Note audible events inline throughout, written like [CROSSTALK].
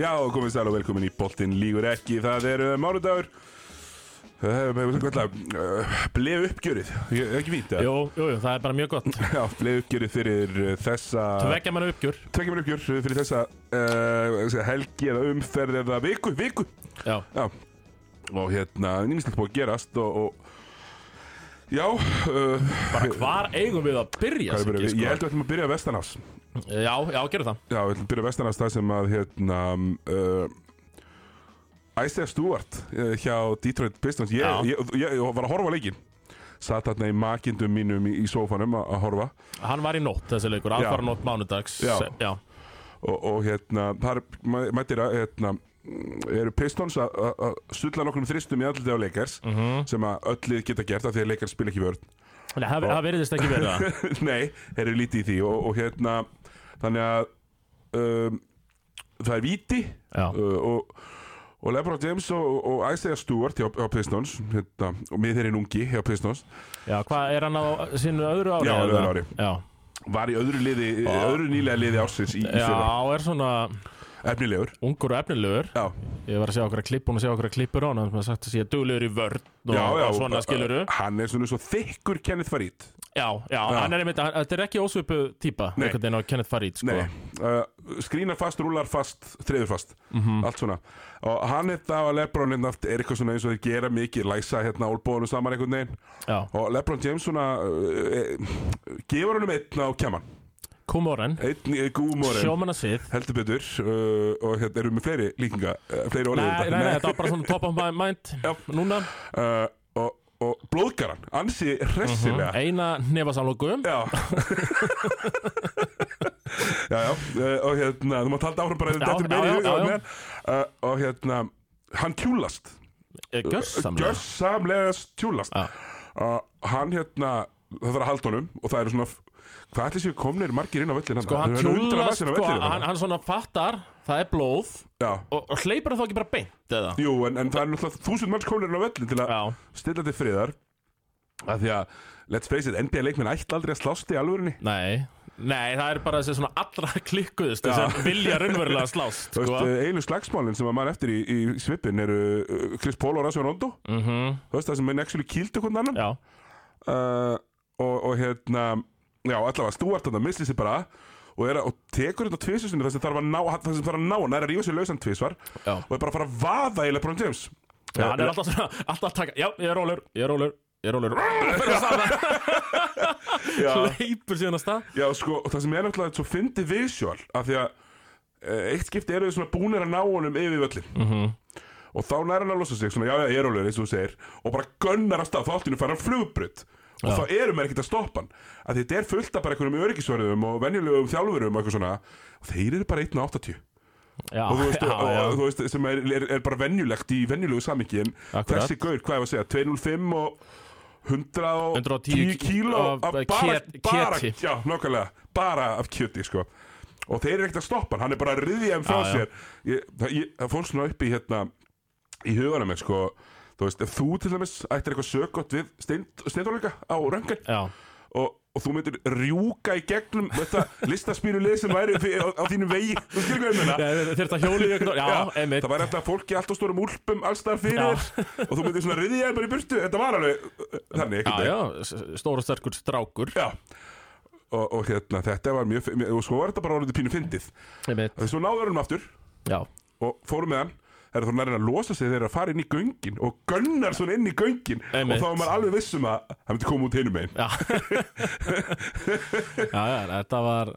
Já, komið sæl og velkomin í Boltinn Lígur ekki, það er uh, mánudagur uh, með hvað uh, bleið uppgjörið, Ég- ekki fínt eða? Jú, jú, jú, það er bara mjög gott Já, bleið uppgjörið fyrir uh, þessa Tveggja manna uppgjör Tveggjum uppgjör fyrir þessa uh, helgi eða umferð eða viku, viku Já, Já, og hérna, nýmislegt búið að gerast og, og Já, uh, [LAUGHS] bara hvar eigum við að byrja hvað er byrjað? Siggi, sko? Ég held að við ætlum að byrja að vestanás Já, já, gerum það Já, við ætlum að byrja vestanast það sem að hérna uh, Isaiah Stewart uh, hjá Detroit Pistons ég, Já. ég, ég, ég var að horfa á leikinn Satt þarna í makindum mínum í, í sófanum að að horfa Hann var í nótt þessi leikur, hann Já. var í nótt mánudags Já. já. Og, og hérna, þar mæ- mættir að hérna, mm, eru Pistons að- að að sulla nokkrum þristum í allir á leikars sem að öll lið geta gert af því að leikars spila ekki vörn Nei, Það, það veriðist ekki verið [LAUGHS] það Nei, þeir eru lítið í því og, og hérna, þannig að um, það er víti Já, uh, og, og Lebron James og, og Isaiah Stewart hjá, hjá Pistons hérna, og með þeirri ungi hjá Pistons já hvað er hann á sínu öðru ári? Já, eða? öðru ári. Já, var í öðru, liði, öðru nýlega liði ársins í, í já fyrra, er svona efnilegur ungur og efnilegur Já, Ég var að sjá okkur að klippa hún og sjá okkur að klippur á hann sem að sagt að sé duglegur í vörn og, já, já og svona skiluru Hann er svona svo þykkur Kenneth Farid Já, já, hann er einmitt, hann- þetta er ekki ósvipu típa Nei. einhvern veginn á Kenneth Farid sko. Mhm. Nei, uh, skrínar fast, rúlar fast, treður fast Allt svona Og hann þetta og Lebron hérna er eitthvað svona eins og þeir gera mikið Læsa hérna álbóðunum saman einhvern veginn Já, Og Lebron James svona uh, e, Gefur honum einn á kjaman Kumoren, Einn í gúmórin sjómanna sið heldur betur uh, og hérna erum við með fleiri líkinga uh, fleiri orðið Nei, nei, nei, þetta var bara svona top of my mind Núna, uh, og, og blóðgaran, ansi hressilega eina nefasamlóku Já [LAUGHS] Já, já, uh, og hérna þú maður talda áfram bara ef Já, þetta er meira í já, já, huga á já, já. meðan. Uh, og hérna, hann tjúlast Gjörsamlega Sko, gjörsamlega tjúlast Já. uh, hann hérna það þarf að halda honum og það eru svona hvað ætli séu komnir margir inn á vellin Sko, hann tjúlast, sko, hann, hann svona fattar Það er blóð Já, Og, og hleypur þá ekki bara beint eða jú, en, en það er náttúrulega þúsund manns komnir inn á vellin til að Já, stilla til friðar af því að, let's face it, NBA leikmenn ætla aldrei að slást í alvörinni nei Nei, það er bara þessi svona allra klikkuðust sem vilja raunverulega slást Þú sko. veist, einu slagsmálin sem að maður eftir í, í svipin eru uh, Chris Paul og Rassi Rondo mm Þú veist, það sem menn actually kýldu hvernig annan Já, uh, og, og hérna, já, allavega Stuart þannig að misli sér bara og, er, að- og tekur þetta tvisvarsunni það sem þarf að ná það sem þarf að ná, hann er að rífa sér lausan tvisvar já og er bara að fara að vaða í LeBron James Já, hann er alltaf svona, alltaf að taka Já, ég er rólur, ég er rólur, ég er rólur Já. Hleypur síðan að stað Já, sko, og það sem er náttúrulega svo fyndi visual af því að eh, eitt skipti eru þau svona búnir að ná honum yfir völlin -hmm. og þá næra hann að losa sig svona, já, já, ég er alveg, eins og þú segir og bara gönnar af stað, þá allt í einu fara hann flugbrut og Já. þá eru maður ekkert að stoppa hann að þetta er fullt af bara einhverjum öryggisverðum og venjulegum þjálfurum og eitthvað svona og þeir eru bara 1.80 Já, og þú veist, já, og, já. og, þú veist sem er, er, er bara venjulegt í venjulegu samingi en Akkurat. þessi gaur, hvað er að segja, 205 og 110 110 kíló af- af af bara, kjöt- bara, kjöti. já, nákvæmlega, bara af kjöti sko. og þeir eru ekkert að stoppa hann hann er bara að riðja um frá Já, já. sér ég, það, ég, það fór svona upp í hérna í huganum mér sko þú veist, ef þú til dæmis ættir eitthvað sögott við steindóleika á röngan já og, og þú myndir rjúka í gegnum [LAUGHS] þetta listaspínu lið sem væri fi- á, á þínum vegi, þú skilur hvað ég meina Þurft að hjóli í einhvern Já, einmitt Það væri alltaf fólk í alltaf stórum úlpum allstaðar fyrir Já. þér og þú myndir svona riðja þeim bara í burtu Þetta var alveg uh, þannig Já, einhvern já, veginn. s- stór og sterkur strákur já. Og, og hérna, þetta var mjög mjög- og svo var þetta bara orðið pínu fyndið Einmitt Þess að náður honum aftur Já, og fórum með hann er það nærinn að losa sig þegar að fara inn í göngin og gönnar svona inn í göngin og Einmitt. þá er maður alveg vissum að það myndi koma út hinum einn já [LAUGHS] Já, já, þetta var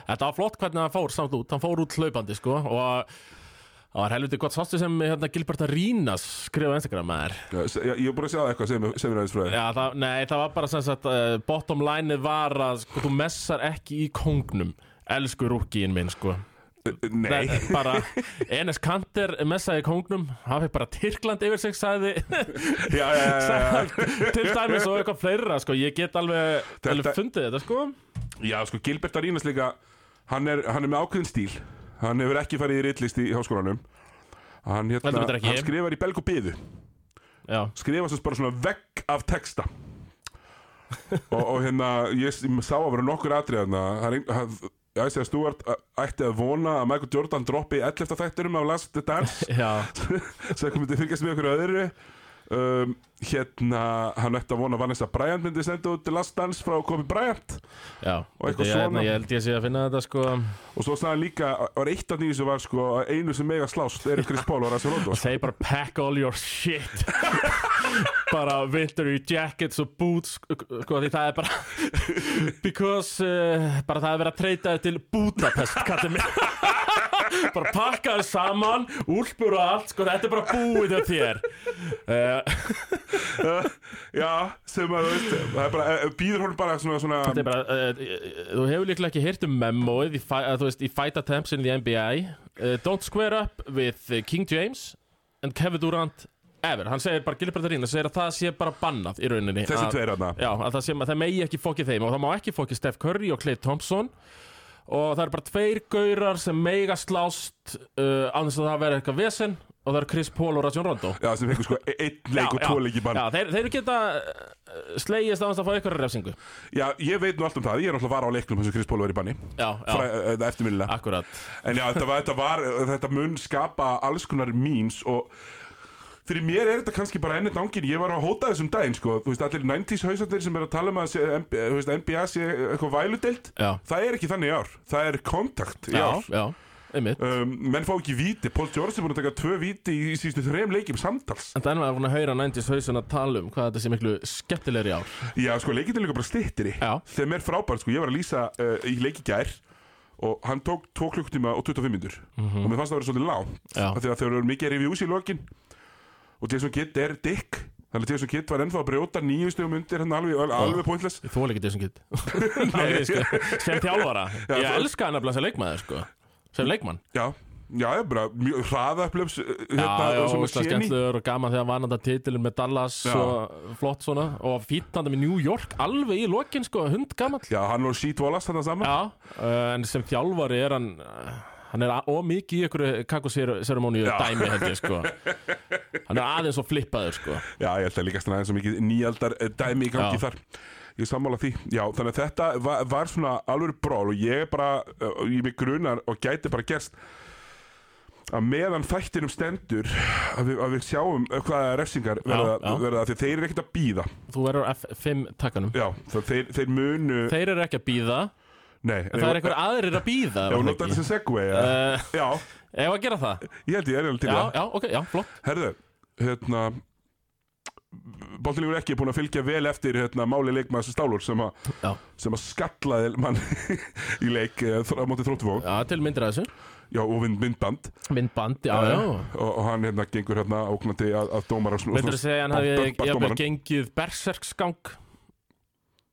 Þetta var flott hvernig hann fór samt út Hann fór út hlaupandi, sko Og það var helviti gott sástu sem hérna, Gilbert Arínas skrifaði á Instagram maður Ég ég er búin að segja eitthvað sem, sem er aðeins frá þér Já, það, nei, það var bara sem sagt uh, Bottom line var að sko, þú messar ekki í kongnum Elsku rúkiðin minn, sko Nei, Nei, bara, Enes Kanter messaði í kongnum Hann fekk bara Tyrkland yfir sig, sagði já, já, já, já, já. [LAUGHS] til dæmis og eitthvað fleira sko. ég get alveg, alveg fundið þetta sko. Já, sko, Gilbert Arínas líka hann er, hann er með ákveðin stíl hann hefur ekki farið í ritlist í háskólanum hann, hérna, Heldur betur ekki. hann skrifar í belg og byðu já, skrifar sem sagt bara svona vegg af [LAUGHS] texta og, og hérna ég, s- ég sá að vera nokkur atriðarna Æsja Stúart ætti að vona að Michael Jordan droppi í 11. þætturum af Last [LAUGHS] Dance Já, sem myndi fylgjast með okkur öðru um, hérna hann ætti að vona að Vanessa Bryant myndi senda út Last Dance frá Kobe Bryant já Og eitthvað Ég- svona. Ég held ég sé að finna þetta sko og svo sagði hann líka, var eitt af nýjum sem var sko að einu sem mega slást er Chris Paul og Rassi Rondo og þeir bara pack all your shit [LAUGHS] bara vinter í jackets og boots sko því það er bara [LAUGHS] because uh, bara það er verið að treyta þér til Budapest kallið mig [LAUGHS] bara pakka þér saman, úlpur og allt sko þetta er bara búið hjá þér uh, [LAUGHS] já, sem að þú veist það er bara, eh, býður hún bara svona, svona þetta er bara uh, þú hefur líklega ekki heyrt um memoið í, fi- að þú veist, í fight attempts in the NBA uh, don't square up with uh, King James and Kevin Durant ever, hann segir bara Gilbert Arín, segir að það sé bara bannað í rauninni þessi að- tveir hérna Já, að það, sem, það megi ekki fokki þeim og það má ekki fokki Steph Curry og Clay Thompson og það eru bara tveir gaurar sem mega slást uh, án þess að það verði eitthvað vesen og það eru Chris Paul og Rajon Rondo Já, sem fengur sko e- einn leik og Já, tvo já. leik í bann Já, já. þeir, þeir geta uh, slegist án þess að fá eitthvað refsingu ég veit nú allt um það, ég er náttúrulega var á leiknum þessum Chris Paul var í banni Já, já, Fræ, e, eftirminnilega akkurat En já, þetta, var, þetta, var, þetta mun skapa alls konar memes og fyrir mér er þetta kannski bara ennett ángin ég var að hóta þessum daginn, sko þú veist, allir 90s hausarnir sem er að tala um að sé, em- þú veist, NBA sé eitthvað væludelt Já, það er ekki þannig í ár, það er kontakt í já, ár já, einmitt um, menn fá ekki víti, Paul George er búin að taka tvö víti í, í síðustu þrem leikjum samtals En það er maður búin að heyra 90s hausun að tala um hvað þetta sé miklu skemmtilegri í ár Já, sko, leikinn er líka bara styttri Já. Þeim er frábært, sko, ég var að lýsa uh, í leiki gær og hann tók 2 klukkutíma og 25 minnur og mér fannst það að vera svolítið lágt Mhm. Já. af því að þeir eru mikið reviews í lokin og Jason Kidd er dick þannig að Jason Kidd var ennþá að brjóta nýju stegum undir hann alveg, al- alveg pointless Ég þóla ekki Jason Kidd [LAUGHS] Nei, sko, Sem þjálfara Ég elska hann að blasa leikmaður, sko Sem leikmann Já, já, ég er bara mjög hraða upplöfs uh, og Já, já, svona ógeðslega séni skemmtilegur og gaman þegar hann vann þetta titilin með Dallas Já. og flott svona og fýtt hann með New York alveg í lokin sko, hund gamall Já, hann og Sheet Wallace þannig saman Já, uh, en sem þjálfari er hann uh, hann er ómikið í einhverju kakoseremóníu Já. dæmi held ég [LAUGHS] sko hann er aðeins og flippaður sko Já, ég held að líka stanna aðeins svo mikið nýjaldar eh, dæmi í gangi Já. þar Ég sammála því Já, þannig að þetta var, var svona alveg brál og ég bara, eh, ég mig grunar og gæti bara gerst að meðan þættinum stendur að við, að við sjáum eh, hvaða refsingar verða, já. verða því að þeir eru ekkert að býða þú verður á F5 takkanum Já, það, þeir, þeir munu þeir eru ekki að býða, Nei, það er einhver aðrir að býða Já, var það nota ekki? þessi segway ja. uh, Já, ef að gera það ég held ég er alveg til já, það já, ok, já, flott Herðu, hérna Bóttilíkur ekki er búin að fylgja vel eftir hérna, máli leikmaðs stálur sem að já, sem að skallaði mann [LAUGHS] í leik eh, þr- á móti þróttvóð já til myndir að þessu já, og vind myndband myndband, já, já. og, og hann hérna gengur hérna ógnandi að, að dómar og Myndur að segja hann Bömp- hafi bömp- jafnvel dómarann. gengið berserksgang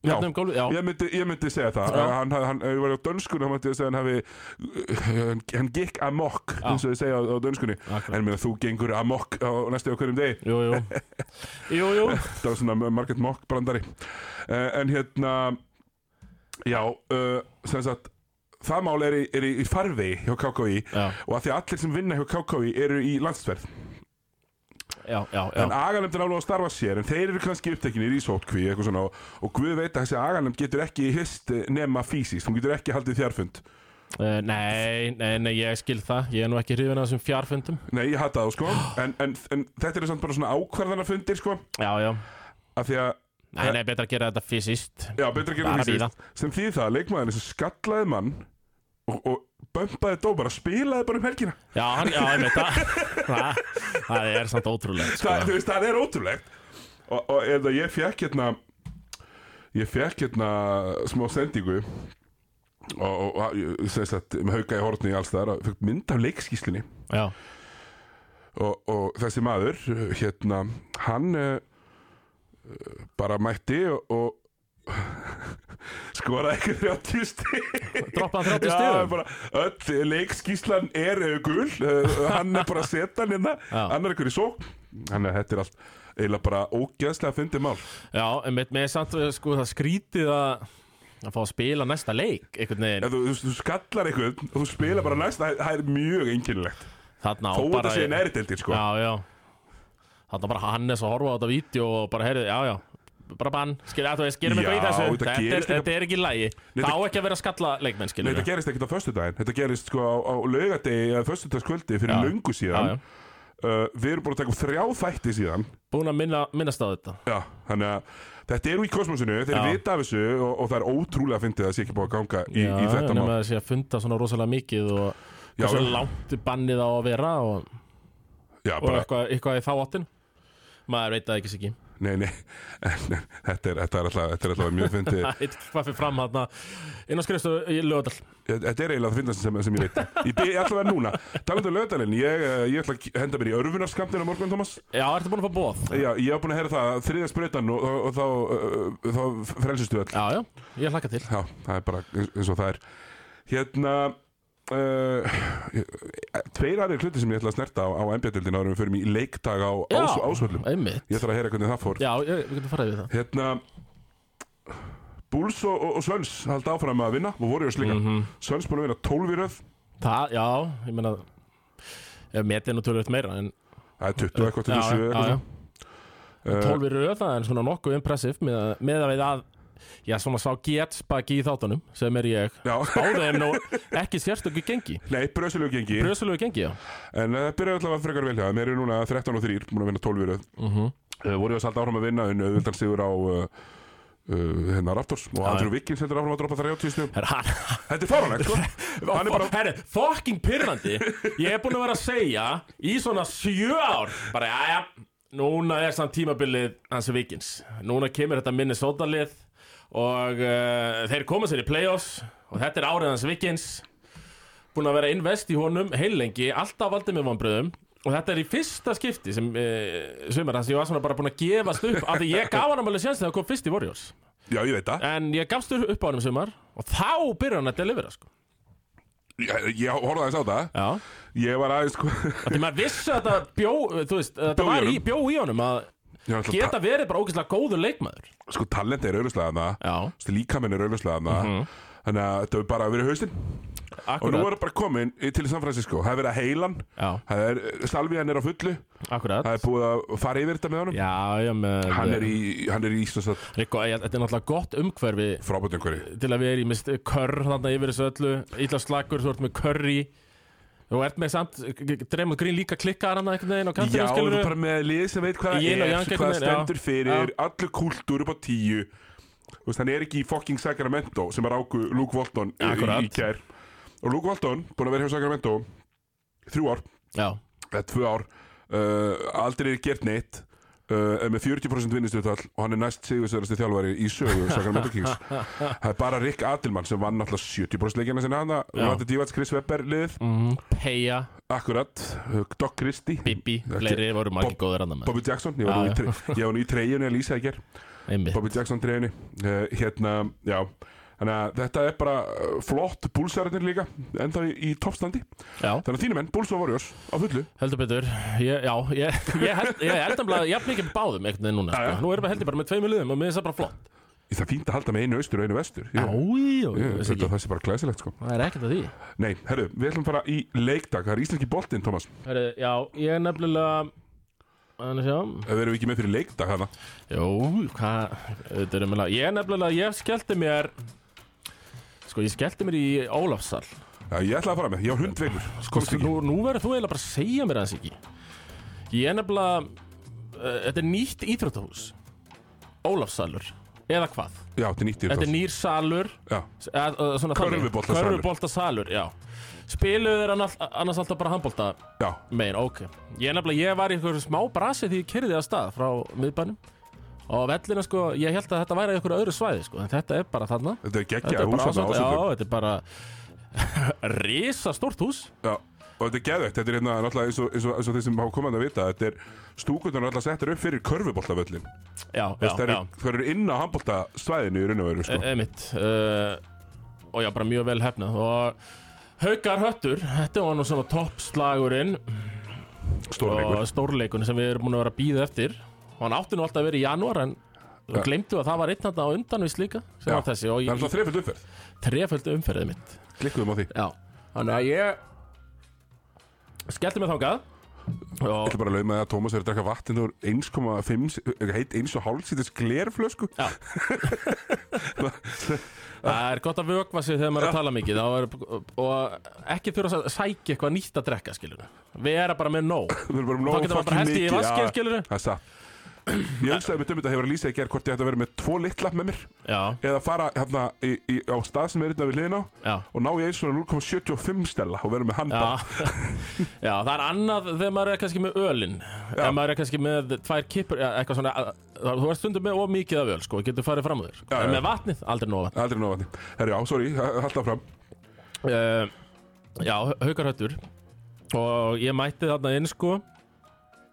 Já. Hérna um gólfið, já, ég myndi, ég myndi segja það Já. hann, hann, hann, ef ég var á dönskunni, hann myndi ég segja hann hafi hann, hann gekk amok Já. eins og þið segja á, á dönskunni akkurat en meina, þú gengur amok á næstu á hverjum degi Jú, jú, jú, jú. það var svona margætt mokk brandari uh, en hérna já, uh, sem sagt það mál er í, er í, í farvi hjá KKI Já, og að því að allir sem vinna hjá KKI eru í landsverð já, já, en já. aganemndin alveg að starfa sér en þeir eru kannski upptekinir í sótkví eitthvað svona og, og Guð veit að þessi aganemnd getur ekki hist eh, nema fysiskt, hún getur ekki haldið þjárfund Uh, nei, nei, nei, ég skil það Ég er nú ekki hrifin að þessum fjárfundum nei, ég hata það sko [GASPS] en, en, en þetta eru samt bara svona ákvarðanafundir sko Já, já, af því að, nei, nei, betra að gera þetta fysiskt já, betra að gera Bara bíða. fysiskt sem því það, leikmaðurinn sem skallaði mann og, og bömpaði dómar að spilaði bara um helgina Já, hann, já, ég veit það Það- Það er samt ótrúlega sko. það, þú veist, það er ótrúlegt og, og eða ég fekk hérna ég fekk hérna smá sendingu og, og, og ég- sem sagt, með hauka í hortni alls þar og fekk mynd af leikskíslunni Já, og, og þessi maður hérna, hann uh, bara mætti og, og [LAUGHS] skoraði ekki 30 stig droppaði 30 Já, stigum bara, öll leikskíslan er uh, gul, uh, hann er bara að setja hann hérna, Já. hann er einhverju sók hann er þetta er allt eiginlega bara ógeðslega fyndið mál Já, en með, með samt, uh, sko, það skrítið að að fá að spila næsta leik einhvern veginn, Ef þú, þú, þú skallar einhvern og þú spila bara næst, það, það er mjög einkennilegt þarna á þó bara- þetta sé nærdeldir sko Já, já Þannig bara Hannes að horfa á þetta vídeo og bara heyrði, já, já, bara bann, skilja, þú veist, Já, gerum eitthvað í þetta þessu þetta, er, gerist líka- þetta er ekki lægi, þetta- það á ekki að vera að skalla leikmenn, Nei, skilja þetta gerist ekkert á föstudaginn, þetta gerist sko á, á laugardegi eða föstudagskvöldi fyrir Já. löngu síðan Uh, Við erum búin að taka upp þrjá þætti síðan búin að minna, minnast á þetta Já, þannig að þetta eru í kosmosinu, þeir Já. vita af þessu og, og það er ótrúlega fyndið að það sé ekki búið að ganga í, Já, í þetta nema mál að sé að funda svona rosalega mikið og Já, hversu já. langt bannið á að vera og, Já, og bara, eitthvað, eitthvað í þá áttin maður veit það ekki [LAUGHS] sikki nei, nei, [LAUGHS] en, en, þetta, er, þetta er alltaf, þetta er alltaf mjög fyndið það er hvað fyrir fram hann inn á skrifstu í lögadal Þetta er eiginlega það fyndast sem, sem ég veit Ég byrja alltaf að núna, talandi um löðdalinn ég, eh, ég ætla að henda mér í örfunarskampnir á morgun, Thomas já, ertu búin að fá bóð? Já, ég hef búin að heyra það, þriðja sprautan og, og, og þá, uh, þá frelsistu öll já, já, ég hlakka til Já, það er bara eins, eins og það er Hérna uh, Tveir aðrir hluti sem ég ætla að snerta á, á NBA-dildin árum við förum í leikdag á já, ás, ásvöllum einmitt Ég þarf að heyra hvernig það fór já, ég, við getum farið við það Hérna Bulls og, og, og Svöns halda áfram að vinna og voru í oss líka Svöns búin að vinna 12 í röð Mhm. það, já, ég meina ef metið nú tölvöld meira en Það er 20 eitthvað, Já, 27 já, eitthvað já. svona. Eh, 12 í röð, það er svona nokkuð impressiv með, að- með að við að já, svona sá gets baki í þáttunum sem er ég Já, [LAUGHS] báðið en nú ekki sérstöku gengi nei, bröðsilegu gengi Bröðsulegu gengi, já En það byrjaði alltaf að frekar vel hjá þeim. Þeir eru núna 13 og 3, múin að vinna 12 í röð mm -hmm. uh, voru þess alltaf áfram að vinna en auðvitað sigur á uh, uh, hérna Raptors og Já, Andrew Wiggins heldur áfram að droppa 30 stjum Herra, hann, Þetta er faranlegt [LAUGHS] sko Hann er bara Herra, fucking pyrrandi Ég er búin að vera að segja í svona sjö ár Bara, jæja, núna er samt tímabilið hans vikins Núna kemur þetta minni sótalið Og uh, þeir koma sér í playoffs Og þetta er árið hans vikins Búin að vera invest í honum heilengi Alltaf valdið með vonbröðum Og þetta er í fyrsta skipti sem e, sumar hans ég var svona bara búin að gefast upp af því ég gaf hann alveg sjensi þegar hann kom fyrst í Warriors Já, ég veit það En ég gafst upp á hann um sumar og þá byrjar hann að delivera sko. Ég, ég horfði aðeins á það Já Ég var aðeins sko [LAUGHS] Því maður vissi að þetta bjó Þú veist, að Bjó í þetta var í, honum. bjó í honum að Ég var alltaf ta- geta verið bara ógeðslega góður leikmaður Sko talent er auðvitað þarna Já, Þú veist, Líkaminn er auðvitað þarna Þannig að þetta hefur bara verið haustinn Og nú Mhm. akkurat, er það bara komin í- til San Francisco Það er verið að heilan Já. Það er, Salvían er á fullu akkurat. Það er búið að fara yfir þetta með honum Já, já, með Hann er í, hann er í svona Rikko, ég- Þetta er náttúrulega gott umhverfi frábætt einhverju til að vera í mist körr þarna yfir þessu öllu Ítla slagur, þú ert með curry Þú ert með samt, dreymur grín líka klikkar hann einhvern veginn á Já, kantinu þú skilur er bara með lið sem veit hvað Yin það og er, yang hvað einhvern það veginn, stendur já. fyrir, allir kúltúr upp á tíu Þú veist, hann er ekki í fucking Sacramento sem er áku Luke Walton í, í, Akkurat. í kær Og Luke Walton, búin að vera hjá Sacramento þrjú ár, Já, eða Eh, tvö ár uh, aldrei er gert neitt uh, er með 40% vinnistuðtall og hann er næst sigursöðrasti þjálfari í sögu Sacramento [LAUGHS] Kings Það er bara Rick Adelman sem vann alltaf 70% leikina sinna hann Já. Rati Divats, Chris Webber liðið, mm, Peja, akkurat uh, Doc Christie Bibi, Ekki- fleiri voru margir Bob- góður hann með Bobby Jackson, ég var Já, nú í tre- ég var nú í treyjunni að lýsa í ger Einmitt Bobby Jackson treyjunni uh, hérna, já þannig að þetta er bara uh, flott búlsæðarnir líka, ennþá í, í toppstandi Já þannig að þínu menn, búls og vorjós, á fullu Heldur betur, ég, já, ég, ég held ég held að jafn mikið með báðum einhvern veginn núna Já, já. sko. Nú erum við heldur bara með tveimu liðum og mér finnst það bara flott það er fínt að halda með einu austur og einu vestur Já, já, Ég- já, ég veist held ekki að það sé bara glæsilegt sko Það er ekkert að því Nei, herru, við ætlum að fara í leikdag Það er íslenski boltinn, Thomas Heru, Já, ég er nefnilega Þannig sjá Ef við erum ekki með fyrir leikdag hana Jó, hvað Þetta er nefnilega Ég er nefnilega, ég skellti mér Sko, ég skellti mér í Ólafsal Já, ég ætla að fara með, ég var hundveikur Sko, Komst ekki nú, nú verður þú eiginlega bara að segja mér aðeins ekki Ég er nefnilega uh, Þetta er nýtt íþróttahús Ólafsalur Eða hvað? Já, þetta er nýttir Þetta er nýr salur Já, Körfuboltasalur. Körfuboltasalur, já Spiluðu þeir annars, annars alltaf bara handbolta já, megin, ok Ég nefnilega, ég var í einhverju smá brasi því ég kyrði að stað frá miðbænum og vellina sko, ég held að þetta væri á einhverju öðru svæði sko, en þetta er bara þarna þetta er Þetta geggja er hús bara þarna á ásvöld, já, Ásvöllum. þetta er bara [LAUGHS] risa stórt hús Já, og þetta er geðveikt, þetta er hérna náttúrulega eins og, eins og, eins og þeir sem hafa komað að vita Þetta er stúkundan alltaf settir upp fyrir körfuboltavöllin Já, já, Það já, eru- það eru inn á handboltasvæðinu í raun og veru sko. e mitt uh, og já, bara mjög vel hefnað og Haukar Höttur, þetta var nú svona toppslagurinn Stórleikur eh, og stórleikun sem við erum búin að vera að býða eftir og hann átti nú alltaf að vera í janúar en ja. Ja. glemtu að það var einn þarna á undanvist líka sem Já. var þessi og Það er ég alltaf þrefjöld umferð treföldu umferðið mitt Klikkuðum á því já. þannig að ég skellti mig þangað [LAUGHS] Ég ætla bara að lauma það að Tómas er að drekka vatn úr 1,5 heit 1,5 sítins glerflösku Já. það er gott að vökva sig þegar maður er að tala mikið þá er, og ekki þurfa að sækja eitthvað nýtt að drekka skilur við erum bara með nóg Við erum bara um Þá nóg getur maður bara fucking hest í mikið, vaskinn, já. skilurðu. Það er satt Ég hugsaði með dömut að hefur að lýsa í gerð hvort ég ætti að vera með tvo litla með mér já, eða fara hérna í, í, á stað sem er hérna við hliðin á já, og ná í eins og 0,75 stella og vera með handa já [LAUGHS] já, það er annað þegar maður er kannski með ölin Já. ef maður er kannski með tvær kippur já, eitthvað svona, að- þá- þú ert stundum með of mikið af öl sko, getur farið fram úr þér Já, en já. með vatnið, aldrei nóg vatn Aldrei nóg vatni Herri, já, sorry, halda fram uh, Já, haukar höttur Og ég mætti þarna inn sko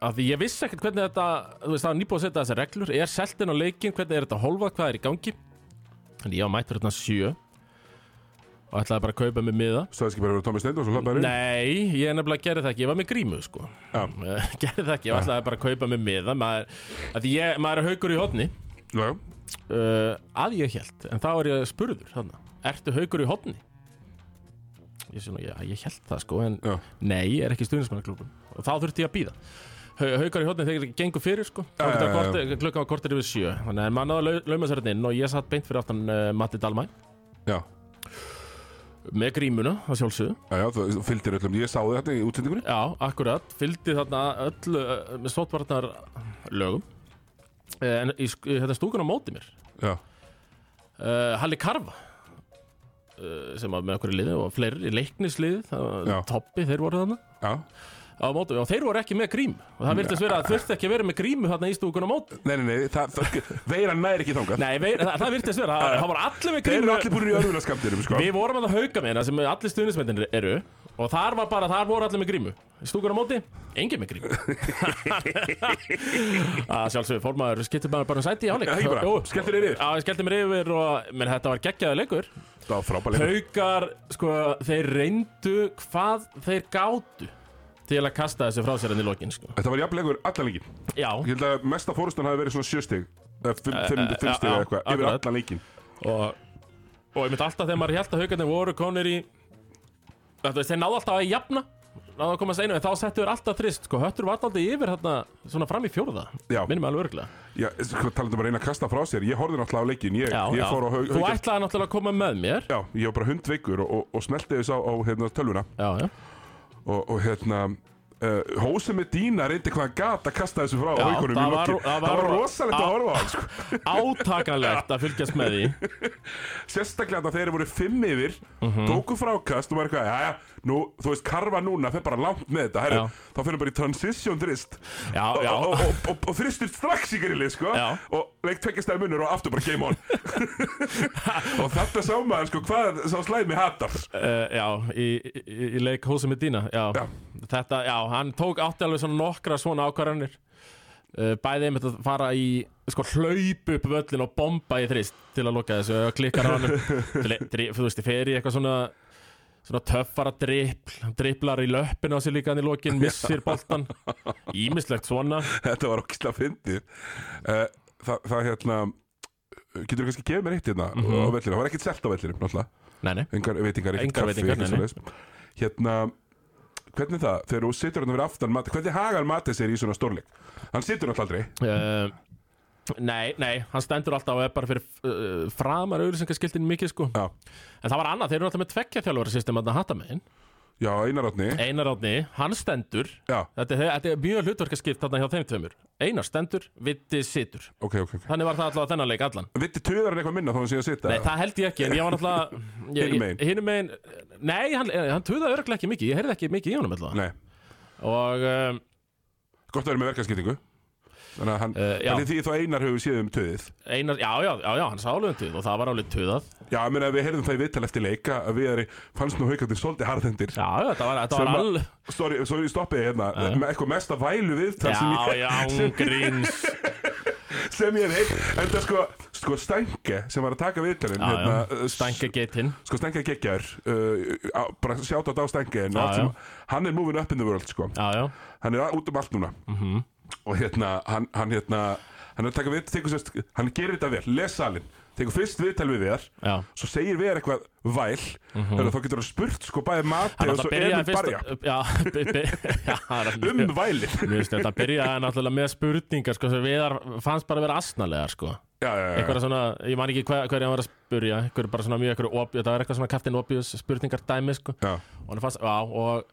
að því ég vissi ekkert hvernig þetta þú veist það var nýbúið að setja þessar reglur er seltin á leikin, hvernig er þetta holvað, hvað er í gangi en ég var mættur þarna sjö og ætlaði bara að kaupa mig miða Sæðiski bara að vera Tómi Steindós og hlappaði Nei, ég nefnilega gerði það ekki, ég var með grímu sko inn Eh, [LAUGHS] gerði það ekki, ég ætlaði bara að kaupa mig miða maður, að því ég, maður er haukur í hotni Já, já uh, að ég held en þá er ég spurður þarna ertu haukur í hotni ég, sé nú, já, ég held það sko en Já. nei, ég er ekki stuðnismannaklúkum og þá þurfti ég að býða Haukar í hotni þegar ég gengur fyrir sko Já, já, klukkan já. var korter- klukkan var kortir yfir sjö þannig að maður náði að lau- lauma sér hérna inn og ég satt beint fyrir aftan uh, Matti Dalmæ Já, með grímuna að sjálfsögðu já, já, þú fylgdir öllum Ég sá þið þetta í útsendingunni já, akkurat, fylgdi þarna öllu uh, með sótvarnar lögum en í, sk- í þetta stúkun á móti mér Já, uh, Halli Karfa uh, sem var með okkur í liði og fleiri í leiknisliði, það Já. var Toppi, þeir voru þarna já á mótum og þeir voru ekki með grím og það virtist vera að þurfti ekki að vera með grímu þarna í stúkun á mótum Nei, nei, nei, það, það Veira næri ekki þangað Nei, vei, það, það virtist vera, það, það var allir með Þeir grímu eru allir búin í örðunarskamptinum, sko Við vorum að það hauka með hérna sem allir stuðnismendin eru og þar var bara, þar voru allir með grímu í stúkun á móti, engin [LAUGHS] með grímu að sjálfsögur fórmaður skiptir maður bara um sæti í áleik Já, ekki bara. Skelltir þér yfir. Já, ég skellti mér yfir og menn þetta var geggjaði leikur Það var frábælega Haukar, sko, þeir reyndu hvað þeir gátu til að kasta þessu frá sér enn í lokin, sko. Þetta var jafnlegur allan leikin Já, Ég held að mesta fórustan hafi verið svona sjöstig já, Fimmstig eða Eh, já, eitthvað Yfir akkurat. allan leikin og, og ég myndi alltaf þegar maður held að haukarnir voru konir í Þetta veist, þeir náðu alltaf að jafna náðu að komast einu, en þá settu þeir alltaf þrist sko, höttur var alltaf yfir þarna svona fram í fjórða, Já. minnum mig alveg örglega Já, sko, talandum bara eina að kasta frá sér Ég horfði náttúrulega á leikin Ég, ég fór á haug Þú ætlaði náttúrulega að koma með mér Já, ég var bara hundveikur og, og, og smelti þess á, á hérna, tölvuna Já, já, og, og hérna uh, Hósi með dýna reyndi hvað hann gat að kasta þessu frá á Já, haukunum í það var- lokin það Það var- var rosalegt að á- horfa á hann sko. átakanlegt að fylgjast með [LAUGHS] því Sérstaklega þetta þeir voru fimm yfir Mhm. Tóku frákast og var eitthvað Jæja, nú, þú veist, karfa núna fer bara langt með þetta herri, Já. Þá fyrir bara í transition þrist Já, og, já. og, og, og, og þristir strax í grilli sko. Já. Og leik tveggjastæði munur og aftur bara game [LAUGHS] on Og þetta sá maður sko, Hvað sá slæmi hatar Uh, já, í, í, í leik Hósa Medina já. Já. Þetta, já, hann tók átti alveg svona nokkra svona ákvarðanir uh, Bæði einmitt að fara í sko hlaup upp völlin og bomba í þrist til að loka þessu og klikkar á hann til, til, þú veist, fer í eitthvað svona svona töffara dripl hann driplar í löppin á sér líka hann í lokin missir boltan, ímislegt svona Þetta var okkislega fyndið uh, það, það hérna Getur þú kannski gefið mér eitt hérna Mhm. á vellinu Það var ekkert selt á vellinu, náttúrulega Nei, nei, Engar veitingar, ekkert Engar kaffi, veitingar, ekkert nei, nei. svoleiðis. Hérna Hvernig það, þegar þú situr hérna fyrir aftan mat, Hvernig hagar matið sér í svona stórleik? Hann situr náttúrulega aldrei uh, Nei, nei, hann stendur alltaf og er bara fyrir uh, framar auðlýsingaskiltin mikið sko Já, En það var annað, þeir eru alltaf með tveggja þjálfara system að hatta megin já Einar Átni Einar Átni, hann stendur Já, Þetta er, þetta er mjög hlutverkaskipt þarna hjá þeim tveimur Einar stendur, Vitti situr ok, ok, ok Þannig var það allavega þennan leik allan Vitti tuðar hann eitthvað minna þá hann sé að sita Nei, það held ég ekki, en ég [LAUGHS] var Hinum allavega megin. Hinum megin Nei, hann, eh, hann tuða örglega ekki mikið, ég heyrði ekki mikið í honum allavega Nei. Og um, Gott að vera með verkaskiptingu Þannig að hann, Eh, já. uh, því þá Einar hefur séð um tuðið Einar, já, já, já, já, hann sá alveg um tuð Og það var alveg tuðað Já, Já, ég meina við heyrðum það í viðtal eftir leika að við erum, fannst nú haukandi svolítið harðendir já, þetta var, þetta Sem að- var all Sorry, sorry, stoppið hérna með eitthvað mesta vælu við þar sem Eh. Já, ég, já, hún [LAUGHS] gríns sem ég er heitt en það sko, sko Stænke sem var að taka viðtalinn Já, hérna, já, uh, stænka getinn sko Stænke er geggjaður uh, á- bara sjátt á Stænke en Já, allt sem, hann er moving up in the world sko. Já, Mhm. já, hann er út um allt núna -hmm. og hérna hann, hann hérna hann er að taka við, tekur sérst, hann gerir þetta vel, les salin tekur fyrst viðtal við Viðar Já. svo segir Viðar eitthvað væl mm þá getur hann spurt sko bæði Mati og Mhm. Hann svo byrjaði Emil fyrst Barja Já, [LAUGHS] be, be, já það er um mjög- væli Mjög snett, hann byrjaði náttúrulega með spurningar sko, sem viðar fannst bara að vera asnalegar sko. já, já, já, einhverja svona, ég man ekki hver, hverja hann var að spurja einhverja bara svona mjög, einhverja op, þetta var eitthvað svona Captain Obvious spurningar dæmi sko. já. og hann fannst, já, og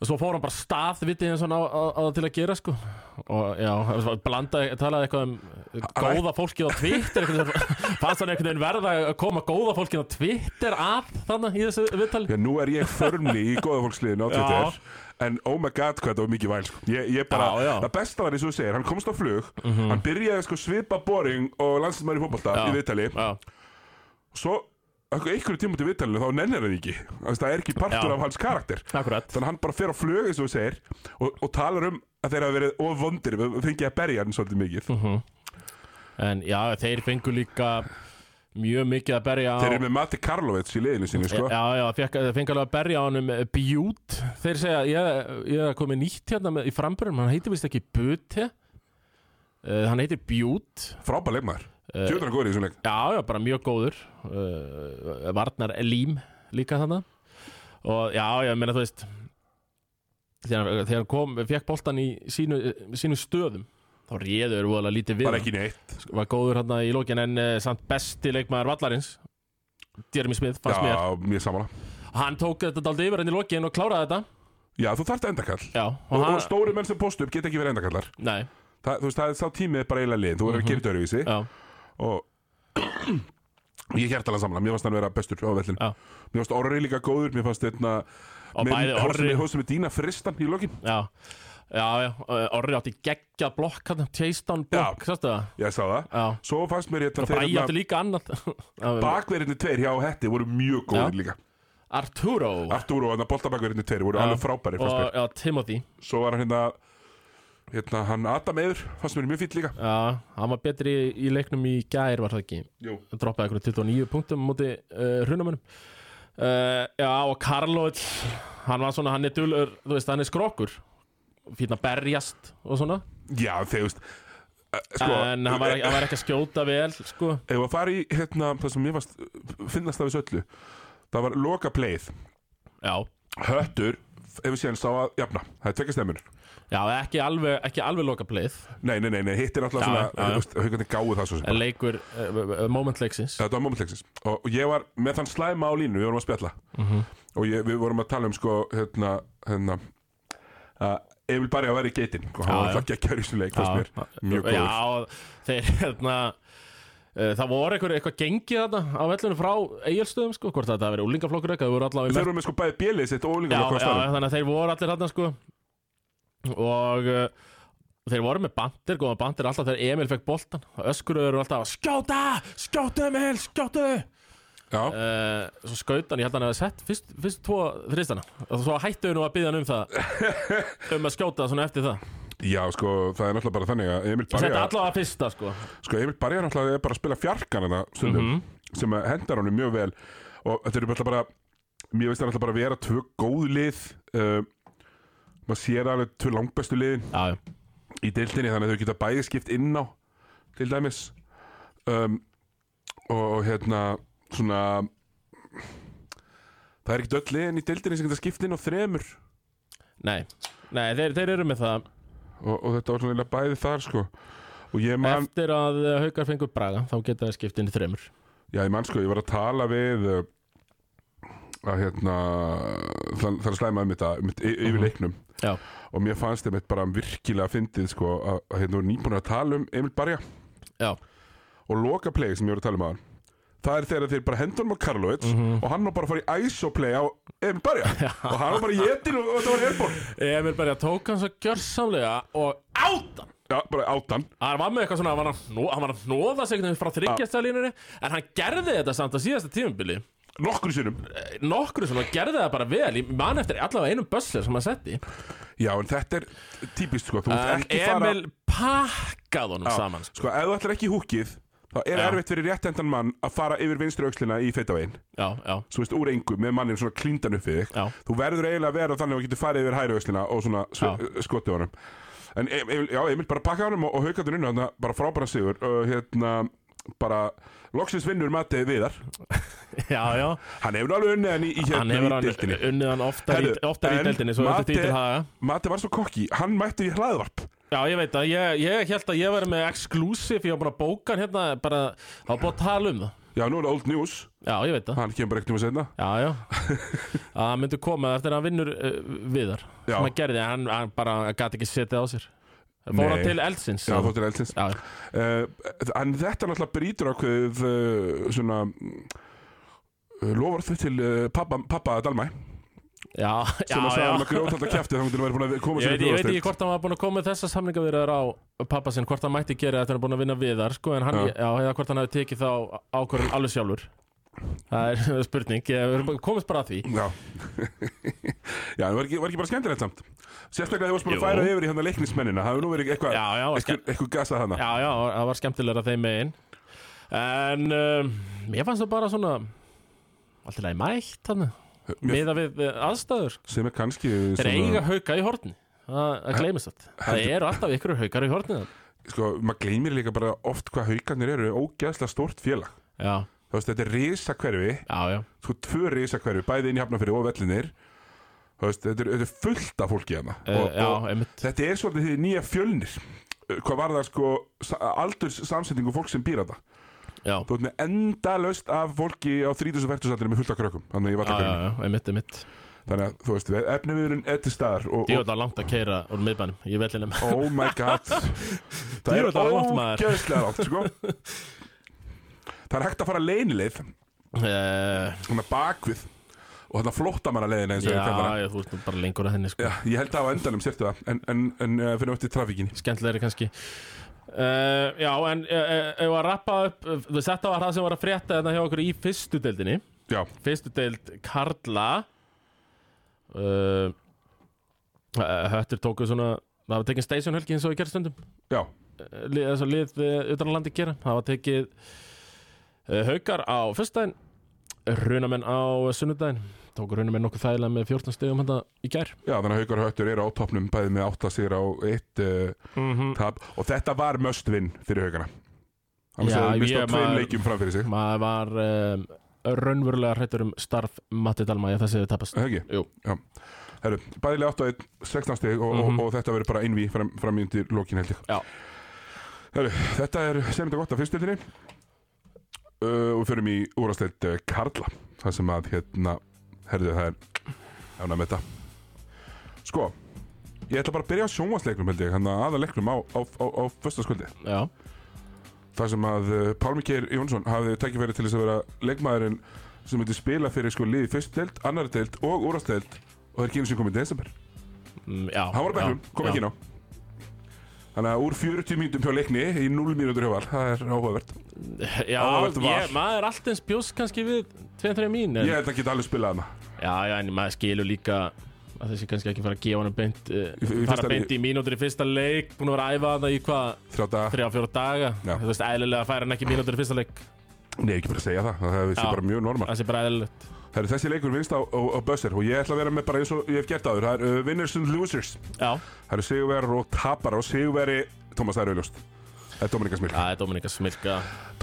og svo fór hann bara stað vitið eins og hann á, á, á það til að gera sko og já, hann var- blandaði, talaði eitthvað um góða fólkið á Twitter einhvern veginn- [LAUGHS] fannst hann einhvern veginn verða að koma góða fólkið á Twitter að þannig í þessu viðtali Já, nú er ég förmli í góðafólksliðinu á Twitter En oh my god hvað þetta var mikið væl sko. ég, ég bara, Já, já. það besta var eins og þú segir Hann komst á flug, hann byrjaði sko svipa boring og landslæsmaður í fótbolta í viðtali já, Svo, einhverju tíma til viðtalinu þá nennir hann ekki Þess, Það er ekki partur Já. af hans karakter akkurat Þannig að hann bara fer á flug eins og þú segir og, og talar um að þeir hafa verið of vondir Við fengið að berja hann svolítið Mhm. mikið en já, þeir fengu líka mjög mikið að berja á Þeir eru með Mati Karlovets í liðinu sinni sko. Já, já, fekk, það fengi alveg að berja á honum eh, Bjút, þeir segja ég, ég er komið nýtt hérna með, í framburðum hann heitir vist ekki Buti uh, hann heitir Bjút Frábær leikmaður, tjóðan góður í þessum leik Eh, já, já, bara mjög góður uh, Varnar Lím líka þannig og já, já, ég meina þú veist þegar, þegar hann kom, fekk boltan í sínu, sínu stöðum þá réður voðalega lítið við Bara hann. ekki neitt Sko, var góður hann í lókin en uh, samt besti leikmaður vallarins Jeremy Smith, fannst mér Já, mér samanlega Hann tók þetta daldi yfir henni í lokin og kláraði þetta Já, þú þarft endakall Já, og, og, hann, og stóri menn sem postu upp geta ekki verið endakallar Nei, Þa, þú veist, það er sá tímið er bara eiginlega liðin þú verður að gera þetta öruvísi Mhm. já, og [CLEARS THROAT] ég hjertalega alveg samanlega, mér fannst hann vera bestur á vellin Já. mér fannst Orri líka góður, mér fannst hérna, þetta Og bæði Orri- hóstum við Dína Fristan í lokin já Já, já, uh, Orri átti geggja blokk hann, chase down blokk, sástu það? ég sá það, Já, svo fannst mér hérna og Bræi átti þegar líka annað [LAUGHS] Já, bakverðinni tveir hjá Hetti voru mjög góðir líka Arturo Arturo og boltabakverðinni tveir voru Já. alveg frábæri fannst mér, og já, Timothy svo var hann hérna hérna hann Adam Eður fannst mér mjög fýtt líka Já, hann var betri í, í leiknum í gær var það ekki Jú. Hann Droppaði einhverjum 29 punktum á móti uh, hrunamönum uh, Já, og Karlovic Hann var svona, hann er dulur, þú veist, hann er skrokur Fýtna berjast og svona já, þegar þú veist eh, sko, en hann var, hann var ekki að skjóta vel sko. Ef að fara í hérna, það sem mér varst, finnast af þessu öllu Það var loka pleið já. Höttur, ef við séum sá að jafna Það er tvekja stemmun já, ekki alveg, ekki alveg loka pleið Nei, nei, nei, nei hitt er alltaf Já, já, já. svona Haukandi gáðu það svo sem en leikur uh, moment leiksins Þetta var momentleiksins og, og ég var með þann slæma á línu, við vorum að spjalla Mhm. Og ég, við vorum að tala um sko Hérna, hérna uh, Emil Barja var í geitin og hann Já, var já. alltaf geggjær í þessum leik fannst mér. Mjög góður já. já, þeir hérna uh, Það voru einhver, eitthvað gengið þarna á vellunum frá eigilstöðum sko, hvort þetta hafi verið úlingaflokkur eitthvað, þau voru allavega í Þeir eru með sko bæði bjölið sitt og já, ólingar já, þannig að þeir voru allir þarna sko og uh, þeir voru með bandir, góða bandir alltaf þegar Emil fekk boltan öskuruður eru alltaf að skjóta, skjóta Emil, skjóta já. uh, svo skaut hann, ég held að hann hefði sett fyrst, fyrst tvo þristana og svo hættu hann nú að byggja hann [LAUGHS] um það um að skjóta svona eftir það já, sko, það er náttúrulega bara þannig að Emil og Barja þetta allavega fyrsta sko Sko Emil Barja náttúrulega er bara að spila fjarkan þetta stundum Mhm. sem að hendar honum mjög vel og þetta eru bara bara mér veist það náttúrulega bara að vera tvö góð lið uh, maður sér alveg tvö langbestu liðin já, já, í deildinni þannig að þau geta bæði skipt inn á til dæmis um, og hérna svona það er ekkert öll liðin í deildinni sem geta skipt inn á þremur nei Nei, þeir, þeir eru með það og, og þetta var svona eiginlega bæði þar sko og ég man Eftir að eh, haukar fengur Braga Þá geta það skipt inn í þremur Já, ég mann sko, ég var að tala við uh, að hérna þann, þann um slæmaði mitt að mitt yfir leiknum Já, og mér fannst þeim bara virkilega fyndið sko að, að hérna voru nýbúin að tala um Emil Barja já, og loka play sem ég voru að tala um aðan það er þegar þeir bara hendur á Karlovits og hann var bara að fara í ISO play á Emil Barja og hann var bara í jetin og, og það var airborne Emil bara tók hann svo gjörsamlega Og átan Já, bara átan Hann var með eitthvað svona, hann var að hno- hann var að hnoða sig einhvern veginn frá þryggjastalínunni En hann gerði þetta samt að síðasta tímabili Eh, nokkur sinnum Nokkru svona, gerði það bara vel Ég man eftir allavega einum bössur sem hann setti Já, en þetta er típist sko þú mátt En ekki fara Eh, Emil pakkaði honum saman sko. sko, ef þú ætlar ekki í húkið þá er Já. erfitt fyrir réttendan mann að fara yfir vinstri aukslina í feitavegin Já, já, svo veist, úr engu með mannin svona klíndan upp við þig Já. þú verður eiginlega að vera þannig að þú getur farið yfir hæri öslina og svona Já. sv skotið honum en Emil, já, Emil bara pakkaði honum og, og haukandur inn og þarna bara frábæra sigur uh, hérna, bara loksins vinnur Matti Viðar já, já hann hefur alveg unnið hann í, í Hann hérna í hefur hann dildinni unnið hann oftar í, Herðu, oftar í en deildinni Svo þetta Mate- títil haga Matti var svo kokki, hann mætti í hlaðvarp Já, ég veit að ég, ég held að ég var með exclusive Ég var búin að bóka hann hérna bara, Það var búin að tala um það já, nú er það old news, Já, ég veit að hann kemur bara ekkert um að segna Já, [LAUGHS] já Að hann myndi koma eftir að hann vinnur uh, viðar Já. Sem hann gerði, hann, hann bara gæti ekki setið á sér Fór Nei. hann til eldsins já, þóttir eldsins já, uh, en þetta náttúrulega brýtur ákveðið uh, svona lofar þau til uh, pappa, pappa Dalmæ já, já, sem að sagði já. hann að grjóta alltaf kæfti þannig að hann væri búin að koma Ég sér veit, ég veit ekki hvort hann var búin að koma með þessa samlingavirðar á pappa sinn, hvort hann mætti gera þetta hann er búin að vinna viðar, sko, en hann, Já. já. eða hvort hann hafi tekið þá ákvörðun alveg sjálfur. Það er [LAUGHS] spurning, ég við erum komist bara að því. Já, [LAUGHS] já en var, ekki, var ekki bara skemmtilegt samt Sérstaklega þegar þú varst bara að Jú. færa yfir í hann að leiknismennina Það hefur nú verið eitthvað Já, já, var eitthvað, eitthvað gasað hana Já, já, það var skemmtilega þeim megin. En um, ég fannst það bara svona, alltaf leið mætt, þannig, Mér, miða við eh, aðstæður. Sem er kannski Þeir eiga hauka í hortni, það það gleymist þetta. Það heldur- eru alltaf ykkur haukar í hortni þannig. Sko, maður gleymir líka bara oft hvað haukarnir eru Ógæðslega stórt félag Já, Þú veist, þetta er risakverfi já, já. Sko, tvö risakverfi, bæði inn í hafnafyrir og vellinir Þú veist, þetta er, þetta er fullt af fólki hana Uh, og, já, og einmitt. þetta er svolítið því nýja fjölnir Uh, Hvað var það sko Aldurs samsetningu fólk sem býr þetta Já, Þú ert með endalaust af fólki á 30-40 saldinu með fullt af krökkum Þannig að ég var já, já, já, einmitt, einmitt. Þannig að þú veist, efniviðurinn er til staðar og, og Djóðan langt að keira úr miðbænum hérna í vellinum oh my [LAUGHS] god Það er Djöfull var langt, maður. ógeðslega langt, sko [LAUGHS] Það er hægt að fara leynileið [LAUGHS] uh, svona bakvið og þarna flóttamanna leiðina eins og Já, ég kallar það. ég, þú ert nú bara lengur að henni sko. Já, ég held að á endanum sértu það en, en, en uh, finnum eftir trafíkinni Skemmtilegri kannski uh, Já, en uh, ef að rappa upp uh, þú veist, Þetta var það sem var að frétta þetta hjá okkur í fyrstu deildinni Já, Fyrstu deild Karla uh, uh, Höttir tóku svona Það var tekin station helgi eins og í gerstundum já, lið, þess að lið eh, utan að landi gera það var tekið eh, haukar á fyrstdæðin runamenn á sunnudaginn tók runamenn nokkuð þægilega með 14 stegum handa í gær já, þannig að Haukar og Höttur eru á topnum bæði með 8 sigra og 1 uh, mm -hmm. tap og þetta var must win fyrir Haukana Þannig Já, að það mista ég- tveim maður- leikjum fram fyrir sig maður var um, raunverulega hrættur um starf Matti Dalma í þessi tapast Er það Jú. ekki? Já. Herru, bæðilega 8 og 1, 16 stig og, Mhm. og, og þetta verður bara einví fram, fram índir lokin held ég. Já. Herru, þetta er sem þetta gott af fyrstöldinni uh, og við förum í úrastelt uh, Karla, það sem að hérna, herru það er ána með þetta. Sko, ég ætla bara að byrja á sjónvarsleiknum held ég, hann að aða leiknum á, á, á, á föstaskvöldi. já, Það sem að uh, Pálmi Geir Jónsson hafði tækifæri til þess að vera leikmaðurinn sem myndi spila fyrir sko liði fyrst deild, annar deild og úrastdeild og það er ekki einu sem komið í desember. mm, já Hann var á bekknum, já, kom ekki já. inn á. Þannig að úr 40 mínútum hjá leikni í 0 mínútur hjá val, það er áhugavert. já, Áhugavert val. ég, maður er allt eins bjóst kannski við 2-3 mín en, Ég held að geta alveg spilað hana. já, já, en maður skilur líka að þessi kannski ekki fara að gefa hann beint, Í- uh, í fara fyrsta beint í mínútur í fyrsta leik búin að vera að æfa hann í hvað Þrjá daga, þrjá, fjóra daga Já. Þú veist, eðlilega fær hann ekki mínútur í fyrsta leik nei ekki bara að segja það, það er Já. vissi bara mjög normal. Það sé bara eðlilegt Það er þessi leikur vinst á, á, á buzzer og ég ætla að vera með bara eins og ég hef gert áður, það er uh, winners and losers. Já, Það eru sigurverar og tapar og sigurveri, Tómas það er auðljóst. Það er Dominika Smil. það er Dominika Smilka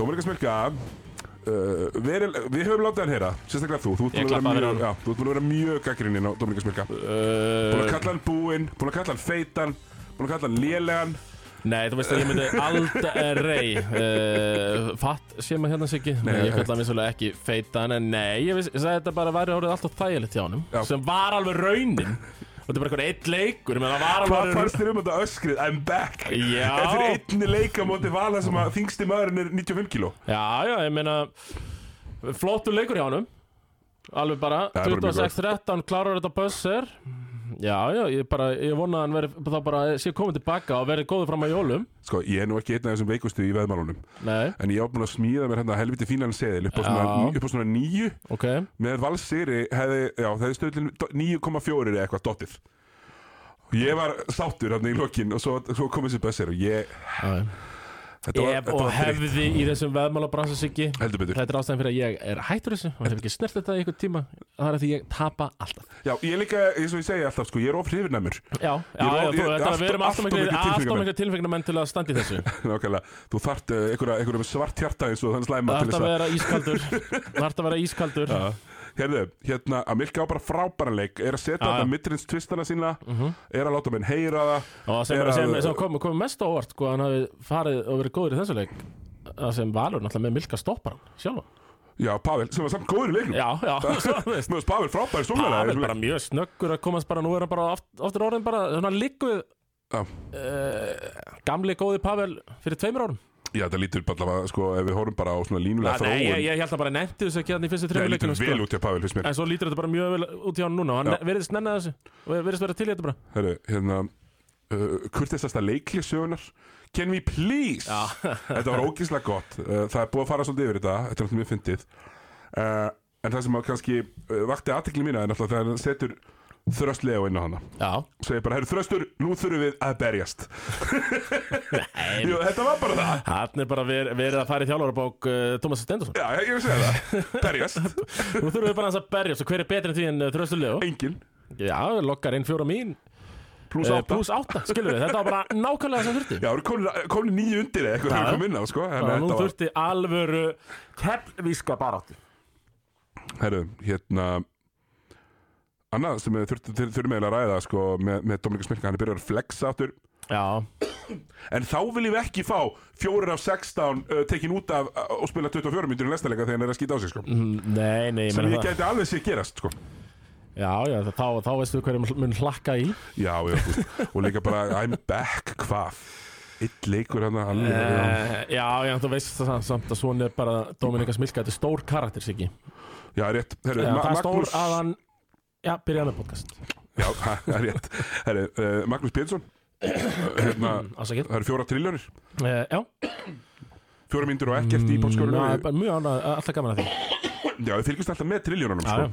Dominika Smilka uh, við, við höfum látið hann heyra sérstaklega þú, þú ert Ég búin að vera klappaði fyrir mjög, já, þú ert búin að vera mjög gaggrininn á Dominika Smilka búin að uh, kalla hann búinn, búin að kalla hann feitan búin að kalla hann lélegan Nei, þú veist að ég myndi aldrei uh, Fatt sé maður hérna sig ekki Ég nei. kalla mér svolítið ekki feitan En nei, ég, veist, ég sagði þetta bara væri orðið alltaf þægilegt hjá honum Já. Sem var alveg raunin Og þetta er bara eitthvað eitt leikur menn það var hvað alveg fannst þér um þetta öskrið, I'm back Já. eftir einni leika móti vala sem að þingsti maðurinn er 95 kíló Já, já, ég meina Flottur leikur hjá honum Alveg bara, Já, bara mjög gott. 26-13 Klarar þetta buzzer Já, já, ég bara, ég vona að hann veri Þá bara sé komið tilbaka og verið góður fram að jólum sko, ég er nú ekki einn af þessum veikustu í veðmálunum Nei, en ég á búin að smíða mér hérna helviti fínan seðil upp á svona, Já. upp á svona nýju ok með valsýri hefði, já, það hefði stöðlinn 9,4 eða eitthvað dottið ég var sáttur hérna í lokin og svo, svo kom þessi bössir og ég, já, já. Þetta var- ef þetta og var dritt. hefði í þessum veðmálabransasiggi Heldur betur. þetta er ástæðan fyrir að ég er hættur þessu og hef ekki snert þetta í einhvern tíma það er að því ég tapa alltaf Já, ég er líka, eins og ég segi alltaf, sko, ég er of hrifnæmur já, Ég er já, já, of- þú, ég- þetta allt- við erum allt of alltaf miklir miklu alltaf tilfinningamenn. miklu tilfengnumenn til að standa í þessu [LAUGHS] Nákvæmlega, þú þarft uh, einhverja, einhverja með svart hjarta eins og þann slæma það til þess þarf að að vera ískaldur það þarf að vera ískaldur Já. Hérðu, hérna, að Milka á bara frábæran leik Er að setja Já, Mhm. já. þetta mittrins tvistana sína Er að láta menn heyra það og sem, Er að- sem, sem kom, kom mest á óvart hvað hann hafi farið og verið góður í þessu leik að sem Valur náttúrulega með Milka stoppar hann sjálf Já, Pavel, sem var samt góður í leiknum já, já, svo þú [LAUGHS] veist Mér finnst Pavel frábæri stúrlega Það er bara mjög snöggur að komast bara, nú er hann bara oft, oftur orðin bara, svona líkuð Já. uh, gamli góði Pavel fyrir tveimur árum Já, þetta lítur bara, allavega, sko, ef við horfum bara á svona línulega Að, þróun Ah, nei, ég, ég held að bara nefndi þessu ekki hann í fyrstu Nei, tveimur lítur leikunum vel sko. út hjá Pavel, finnst mér En svo lítur þetta bara mjög vel út hjá hann núna og Já. hann veriðist nennið þessu og veriðist vera til í þetta bara Hérðu, hérna uh, Kurtisasta leiklisögunar Can we please? Já. [LAUGHS] þetta var ógíslega gott uh, Það er búið að fara svolítið yfir þetta Þetta er alltaf mjög fyndið uh, En það sem að kannski uh, vakti aðtekli mína er náttúrulega þegar hann setur Þröst Leo inn á hana Já, Segir bara, herru Þröstur, nú þurfum við að [LAUGHS] berjast Jú, þetta var bara það hann er bara ver, verið að fara í þjálfarabók uh, Thomas Stendursson Já, ég er að segja það Berjast, [LAUGHS] Nú þurfum við bara hans að berja, svo hver er betri en því en uh, þröstulegu? engin Já, lokkar inn fjóra mín Plus uh, átta pluss átta, skilur við, þetta var bara nákvæmlega þess að þurfti Já, það eru komin nýju undir eða eitthvað þegar Já. við komum inn á, sko Þannig Bara að nú þetta var- þurfti alvöru keppvíska baráttu Herru, hérna Annað sem við þurftum þur, þur, að ræða sko, með, með Dominika Smilka, hann er byrjar að flexa aftur Já, En þá viljum við ekki fá fjórir af 16 uh, tekin út af uh, og spila 24 myndir í næsta leika þegar hann er að skýta á sig sko. mm, nei, nei, ég sem meina ég það gæti alveg sé gerast sko. Já, já, þá, þá, þá veistu hverjum mun hlakka í Já, já, þú veist. og líka bara I'm back, hvað Eitt leikur hann hann uh, uh, Já, já, þú veist það samt- samt að svona er bara Dominika Smilka, þetta er stór karakter, Siggi Já, rétt, herru, Já, Ma- það er stór Magnús að hann Já, byrjaði með podcast Já, [LAUGHS] það er rétt herru, uh, Magnús Pétursson Ah. hérna, Ásakið Það eru fjóra triljónir uh, Já, Fjóra myndir og ekkert í bókskjörunum ná, bara mjög ánað, alltaf gaman að því Já, við fylgjumst alltaf með triljónunum Já, sko. já.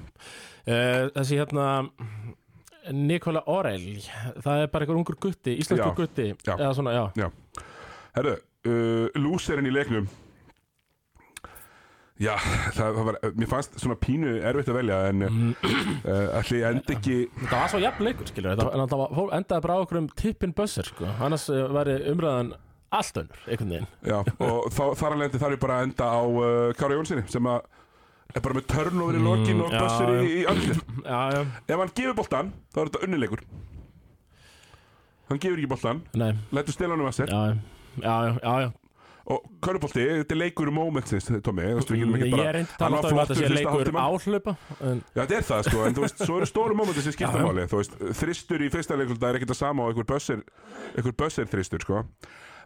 Eh, Þessi hérna Nikola Orel Það er bara einhver ungur gutti, íslenskur Já, gutti já. Eða svona, já Já Herru, uh, lúserinn í leiknum Já, það, það var, mér fannst svona pínu erfitt að velja En Mm. uh, allir endi ekki Þetta var svo jafn leikur, skilur þetta, En það var, endaði bara á okkur um tippin bössur sko. Annars eh, væri umræðan allt önnur Einhvern veginn Já, og þá, þar alveg þarf ég bara að enda á uh, Kára Jónssoni Sem að er bara með törn over í lokin og Mm, já, bössur í, í andlið Já, já, Ef hann gefur boltan, þá er þetta unnilegur Hann gefur ekki boltan nei, Lætur stela hann um að sér já, já Já, já, já, já. Og Körubolti, þetta er leikur momentsins, Tommi Ég Mm, Ég er reynd að tala alltaf um að þetta sé leikur áhlaupa en, Já, þetta er það sko, en þú veist, svo eru stóru mómentir sem skipta Já, já. máli, þú veist, þristur í fyrsta leikulta er ekkert það sama og einhver bössir, einhver bössir þristur, sko.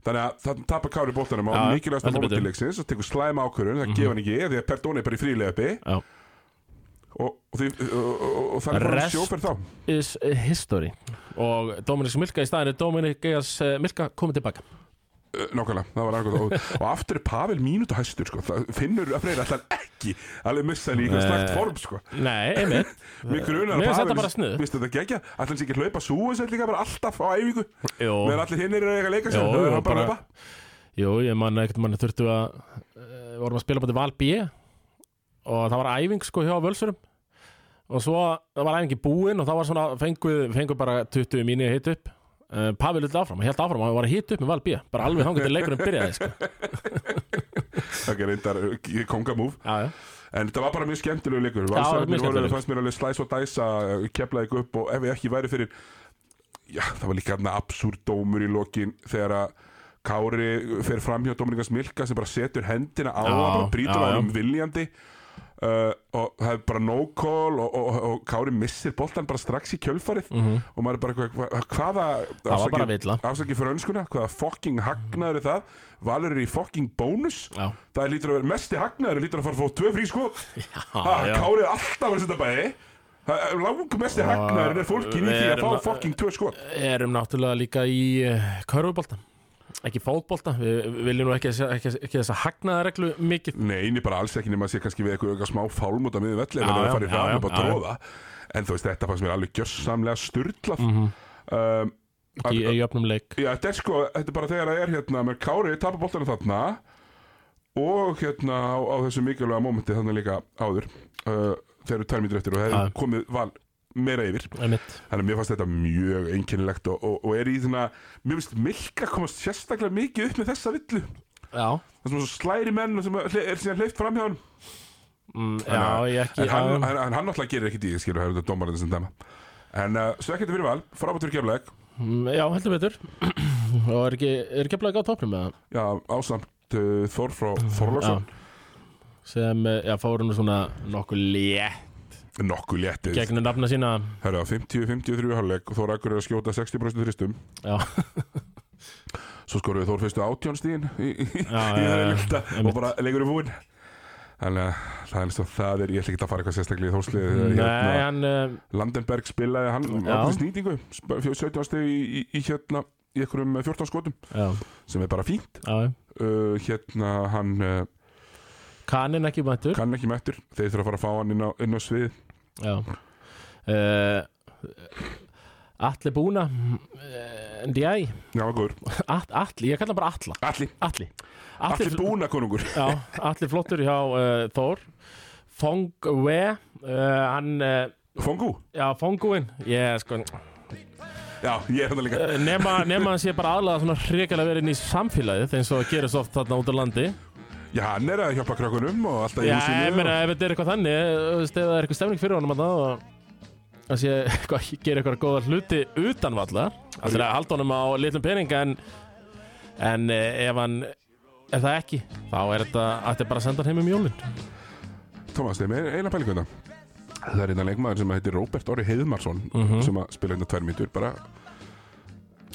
Þannig að það tapar Kári bóltanum Já, á já, mikilvægasta heldur mómentir betur. Mhm. leiksins og tekur slæma ákvörun, það gefa hann ekki, af því að Perdón er bara í frílega uppi Já, og, og, því- og, og, og það er bara Rest- sjóferð þá. is history Og Dominik Milka í staðinu Dominik Egas Milka komið tilbaka Uh, Nákvæmlega, það var annað og, og aftur er Pavel mínútu hæstur, sko, það finnur að freyra alltaf ekki alveg missa hann í einhver Nei. slagt form, sko. Nei, einmitt Mér grunar Mér að finnst þetta Pavel, bara sniðugt. minnst þetta gegja, alltaf ekki að hlaupa súinsett líka bara alltaf á æfingu, Jó, meðan allir hinn eru eitthvað að leika Jó, sér, það jú, er hann bara að bara- hlaupa. Jú, ég man ekkert mann þurftu að uh, vorum að spila bæti Val B og það var æfing sko hjá Völsurum og svo það var æfingi búin og það var svona fenguð, fenguð bara 20 mínu hit upp uh, Pavel hlut áfram, held áfram og hann var að hit upp með Val B bara alveg þangur til leikurinn byrjaði [LAUGHS] sko. Það er reyndar uh, kongamúf já, já. En þetta var bara mjög skemmtilegu leikur Já, mjög Valsararnir voru, skemmtilegur. fannst mér alveg slæs og uh, dæsa Keflaði ekki upp og ef ég ekki væri fyrir Já, það var líka hérna absúrdómur í lokin Þegar að Kári fer fram hjá Dominikas Milka Sem bara setur hendina á Já, hann Bara brýtur já, á já. hann um viljandi Uh, og það er bara no call og, og, og Kári missir boltan bara strax í kjölfarið og maður er bara eitthvað hva- hvaða Mhm. það var bara villa afsakið fyrir önskuna hvaða fucking hagnaður er það Valur er í fucking bónus Já, Það lítur að vera mesti hagnaður lítur að fara að fá tvö frí sko já. Kárið er alltaf að setja bæði Það er Lang mesti hagnaður er fólkin í við því að erum fá að- fokking tvö sko. skot erum náttúrulega líka í uh, körfubolta ekki fótbolta, við við viljum nú ekki, ekki, ekki þessa hagnaðareglu mikið Nei, ég bara alls ekki nema að sé kannski við eitthvað, eitthvað smá fálm út af miðum velli Já, en það er já, að fara í já, ræðum já, upp að já, já. tróða En þú veist, þetta fannst mér alveg gjössamlega styrlað Mhm. um, í, í öfnum leik Já, þetta er sko, þetta er bara þegar það er hérna með Kári tapar boltanum þarna og hérna á, á þessu mikilvæga mómenti þannig líka áður uh, þegar eru tærmítur eftir og það Já. er komið val meira yfir Einmitt. Þannig að mér fannst þetta mjög einkennilegt og, og, og er í svona, mér finnst Milka komast sérstaklega mikið upp með þessa villu Já, Það sem svo slæri menn og sem er er síðan hleyft fram hjá hann En, mm, já uh, ég ekki En hann, já, hann, hann, hann alltaf gerir ekki því, skilur, það er þetta dómarinn sem dæma En uh, svekkjandi fyrir val, frábættur kefleg mm, já, heldur betur [CLEARS THROAT] Og er ekki, er ekki að blæka á topnum með það Já, ásamt uh, Þór frá Þorlásson Sem, eh, já, fóru nú svona nokkuð létt Nokkuð léttið Gegnum nafna sína Herra, 50-53 hálfleik og Þór Akkur er að skjóta 60% þristum Já, Svo skoruðu Þór fyrstu átjónstíðin í, í, í já, já, þeirri já, lykta og einmitt. bara leikur er búinn Þannig að það er eins og það er, ég ætla ekki að fara eitthvað sérstaklega í þórsliði [LAUGHS] nei, hann eh, Landenberg spilaði hann Já. ákveði snýtingu, sp- 17 steg í, í, í hérna, í einhverjum 14 skotum Já, sem er bara fínt já uh, Hérna, hann uh, Kanin ekki mættur kann ekki mættur, þeir þurfa að fara að fá hann inn á, inn á svið Já uh, Atli Búna uh, NDI Já, góður, At, Atli, ég kalla hann bara Atla allir, Atli allir búna konungur já, Atli flottur hjá uh, Þór Fong We uh, Hann, uh, Fongu, já, Fonguinn Ég sko, já, ég er hann líka eh, nema, nema hann sé bara aðlaða svona hrikalega verið inn í samfélagið eins og gerist oft þarna út á landi Já, hann er að hjálpa krökkunum og alltaf í Já, húsinu ég og- meina, ef þetta er eitthvað þannig eh, þú veist, ef það er eitthvað stemning fyrir honum þarna og að sé, [LAUGHS] eitthvað, gera eitthvað góða hluti utan valla Það er að halda honum á litlum pening en, en eh, ef hann ef það ekki, þá er þetta ætti bara að senda hann heim um jólin Tómas, þeim er eina pælingu þetta Það er einna leikmaður sem heitir Róbert Orri Heiðmarsson sem að spila hérna tvær mínútur bara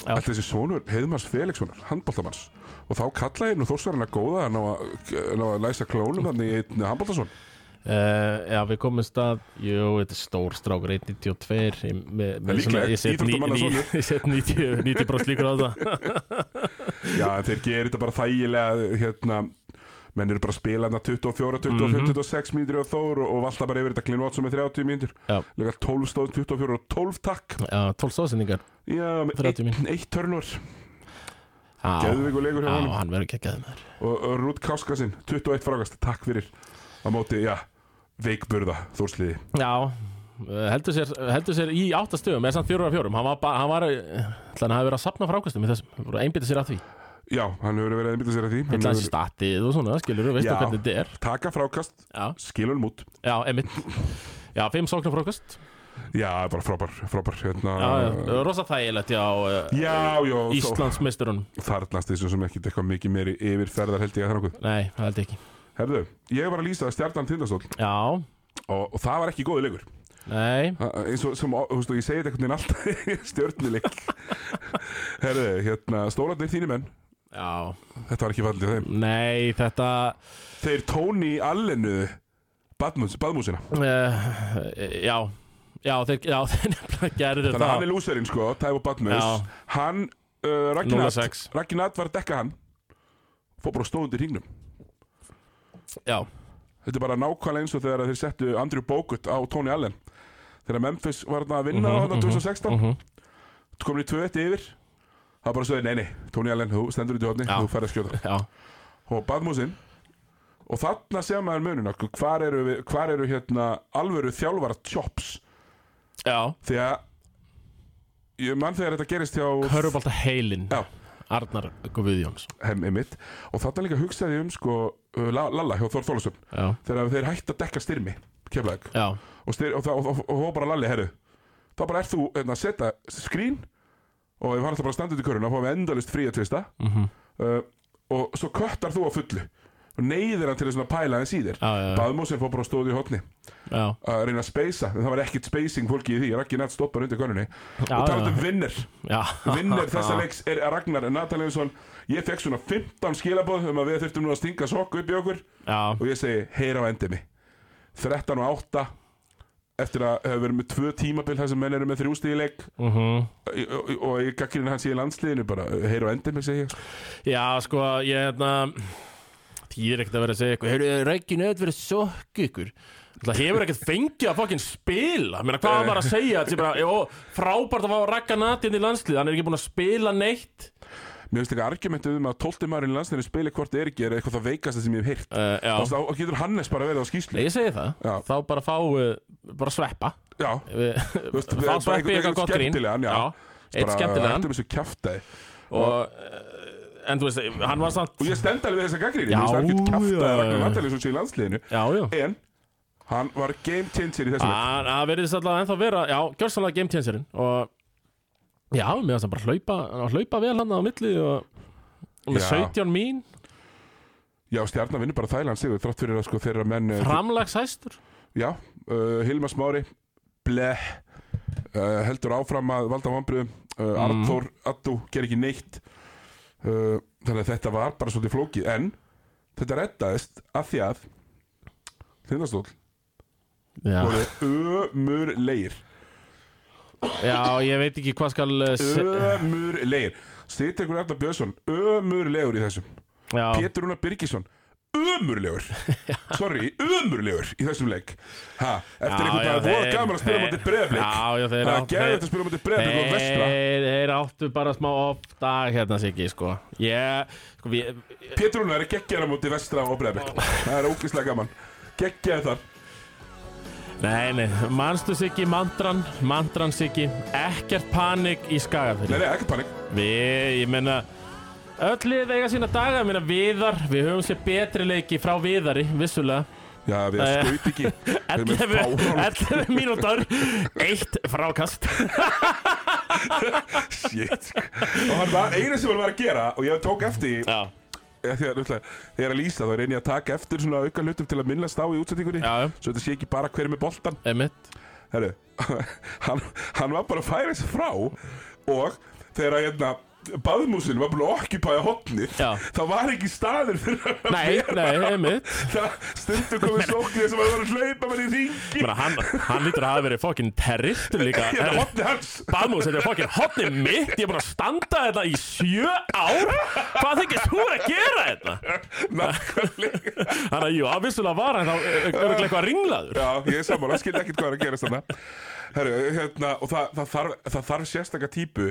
Já. Allt þessi sonur Heiðmars Felixsonar, handbóltamanns og þá kalla ég nú þórsverðina góða að ná að, ná að læsa klónum þannig í einn handbóltason uh, Já, við komumst að Jú, þetta er stór strákur, 1.92 ég- með- Það er með svona- líklegt, Ég set ní- íþróttamanna ní- sonur. [LAUGHS] ég set 90 90 bróst líkur á það Já, en þeir gerir þetta bara þægilega hérna menn eru bara að spila hérna 24, 25, 26 mínútur og þór og, og valda bara yfir þetta Glyn Watson með 30 mínútur Já. Lega 12 stóð, 24 og 12 takk Já, 12 stóðsendingar Já, með 30 eitt, eitt törnur Já, Geðvig og leikur hjá já, honum hann verður ekki að geða mér og og Rút Káskasinn, 21 frákast, takk fyrir á móti, já, veikburða Þórsliði, Já, eh, heldur sér, heldur sér í áttastöfum eða samt fjórum af fjórum hann var, bara- hann var, eh, ætli hann hafi verið að sapna frákastum í þessum, hann voru að einbytta sér að því já, hann hefur verið að einbytta sér að því eitthvað hann hans hefur í statið og svona, skilur þú, veistu Já. hvernig þetta er taka frákast, Já, skilunum út já, emitt Já, fimm sóknar frákast já, bara frábær, frábær hérna, Já, já, rosa þægilegt hjá uh, já, já, Ísland. Íslandsmeisturunum þarnast þessum sem ekkit eitthvað mikið meiri yfirferðar held ég að það nokkuð Nei, það held ég ekki herðu, ég var að lýsa stjarnan tindastól Já, og, og það var ekki góði leikur nei, Það- eins og sem, þú veist, og ég segi þetta einhvern veginn alltaf [LAUGHS] stjörnileik herðu, hérna, stólarnir þínir menn já, þetta var ekki fallið þeim nei, þetta þeir eh, tóni í allinu badmúsina uh, Já, já, þeir, já, [LAUGHS] þeir nefnilega gerðu Þannig að hann er það lúserinn sko, Tævo Badmus Já. Hann, uh, Ragnar 06. Ragnar var að dekka hann Fór bara stóðundi hringnum Já, Þetta er bara nákvæmlega eins og þegar þeir settu Andrew Bogut á Tony Allen Þegar Memphis var þarna að vinna Mhm, mm -hmm, mhm, 2016 mm mhm. -hmm. Komin í 2-1 yfir Það var bara svo, nei, nei, Tony Allen, þú stendur út í hodni Já. Þú færð að skjóta já, Og Badmusinn Og þarna sér maður mununa Hvar eru, við- hvar eru hérna alvöru þjálfara chops já Því að Ég mann þegar þetta gerist hjá Körubalta heilin Já. Arnar Guðjóns hemmið mitt og þarna líka hugsaði ég um sko uh, La- Lalla hjá Þór Þólasum Já, þegar þeir hætti að dekka styrmi keflæk já, og, styr, og, það- og, og, og, og bara Lalli herru þá bara ert þú hérna, að setja skrín og ef hann ætla bara að standa út í köruna þá fáum við endalist frí að tvista mhm, uh, og svo köttar þú á fullu og neyðir hann til þess að pæla hans í þér já, já, já, Baðmósin fór bara að stóðu í hotni já, að reyna að speysa en það var ekkit spacing fólki í því Raggi Natt stoppar undir körunni Já, og já. talaði um vinner já. [LAUGHS] vinnir þessa leiks er Ragnar Natalinsson ég fekk svona 15 skilabóð um að við þurftum nú að stinga sokku upp í okkur Já, og ég segi, heyra á endemi 13 og 8 eftir að hafa verið með tvö tímabil þar sem menn eru með þrjústíðileik mhm og, og ég gaggrinna hans í landsliðinu bara, heyra á endemi, segi ég Já, sko, ég hérna Týðir ekkert að vera að segja eitthvað Heyrðu, rækinu hefur verið sokku ykkur Það hefur ekkert fengið að fokkin spila Mér meina, hvað var maður að segja Þetta er bara, jó, frábært að fá Ragga Natinn í landslið Hann er ekki búin að spila neitt Mér finnst ekki argumentum um að 12 maðurinn í landsnæri spili hvort er ekki er eitthvað það veikasta sem ég hef heyrt uh, Þú veist, Já, þá getur Hannes bara verið á skýslu ég segi það Já. Þá bara fá, uh, bara sveppa Já, Við- veist, Fá bara sveppi einhvern- í einhvern eitthvað gott grín skemmtilegan, já. Eitt skemmtilegan Þetta er þessu kjaftaði og, uh, En þú veist, hann var samt Og ég stend alveg við þessa gaggrinni Já, Mér finnst algjörn kjaftaði já, að Ragnar já. Natalie svo sé í landsliðinu Já, já En hann var game changer í þessum leik. Hann hann verðist alltaf ennþá vera Já, gjörsanlega game changerinn Og já, mér varst hann bara hlaupa Hann var að hlaupa vel hann á milli Og og með Já. 17 mín Já, stjarnan vinnur bara Þæland sigur Þrátt fyrir að sko þeirra menn eh, Framlagshæstur Já, uh, Hilmar Smári Bleh uh, Heldur áfram að valda vambriðum uh, Arnþór, Addu, ger ekki neitt uh, Þannig að þetta var bara svolítið flókið En þetta reddaðist Af því að Þindastól Já. voru ömurleir Já, ég veit ekki hvað skal uh, se- Ömurleir Stýrtekur Arnar Björnsson Ömurlegur í þessum Já, Pétur Rúnar Birgisson [LAUGHS] ömurlegur, sorry, ömurlegur í þessum leik ha, eftir Já, einhvern já, veginn voru þeir- gaman að spila þeir- mútið breyðblik Já, já, þeir það er áttu- geðið að spila mútið breyðblik og vestra þeir, þeir áttu bara smá off dag hérna Siggi, sko Ég, sko, við, Pétur Rúnar er geggjara mútið vestra og breyðblik það er ógeðslega gaman geggjaði þar nei, nei, manstu Siggi mandran, mandran Siggi Ekkert panik í nei, skagafyrir nei, ekki panik Við, ég meina, öll lið eiga sína daga, ég meina, viðar Við höfum sér betri leiki frá viðari, vissulega já, við Nei. skaut [LAUGHS] ekki Þeir eru með 11, fáránlegt- 11 mínútur, eitt frákast shit sko. og hann var eina sem hann var að gera og ég tók eftir því, Já, af því að náttúrulega, þegar ég er að lýsa þá reyni ég að taka eftir svona auka hlutum til að minnast á í útsendingunni já, svo þetta sé ekki bara hver er með boltan emitt Herru, [LAUGHS] hann, hann var bara að færa sig frá og þegar að hérna baðmúsin var búin að okkupæja hotnið Já. þá var ekki staður fyrir að Nei, nei, emitt það stundu komið sóknið sem að var að hlaupa mann í ringi Menna, hann, hann lítur að hafa verið fokkin terrist líka hérna hotnið hans Bamus, þetta er fokkin hotni mitt Ég er búin að standa þetta í sjö ár Hvað þykist þú vera að gera þetta? nákvæmlega Þannig að jú, að vissulega var hann þá örgulega eitthvað ringlaður Já, ég er sammála, skilja ekkert hvað er að gerast þarna Herru, hérna, og það, það, þarf, það þarf sérstaka típu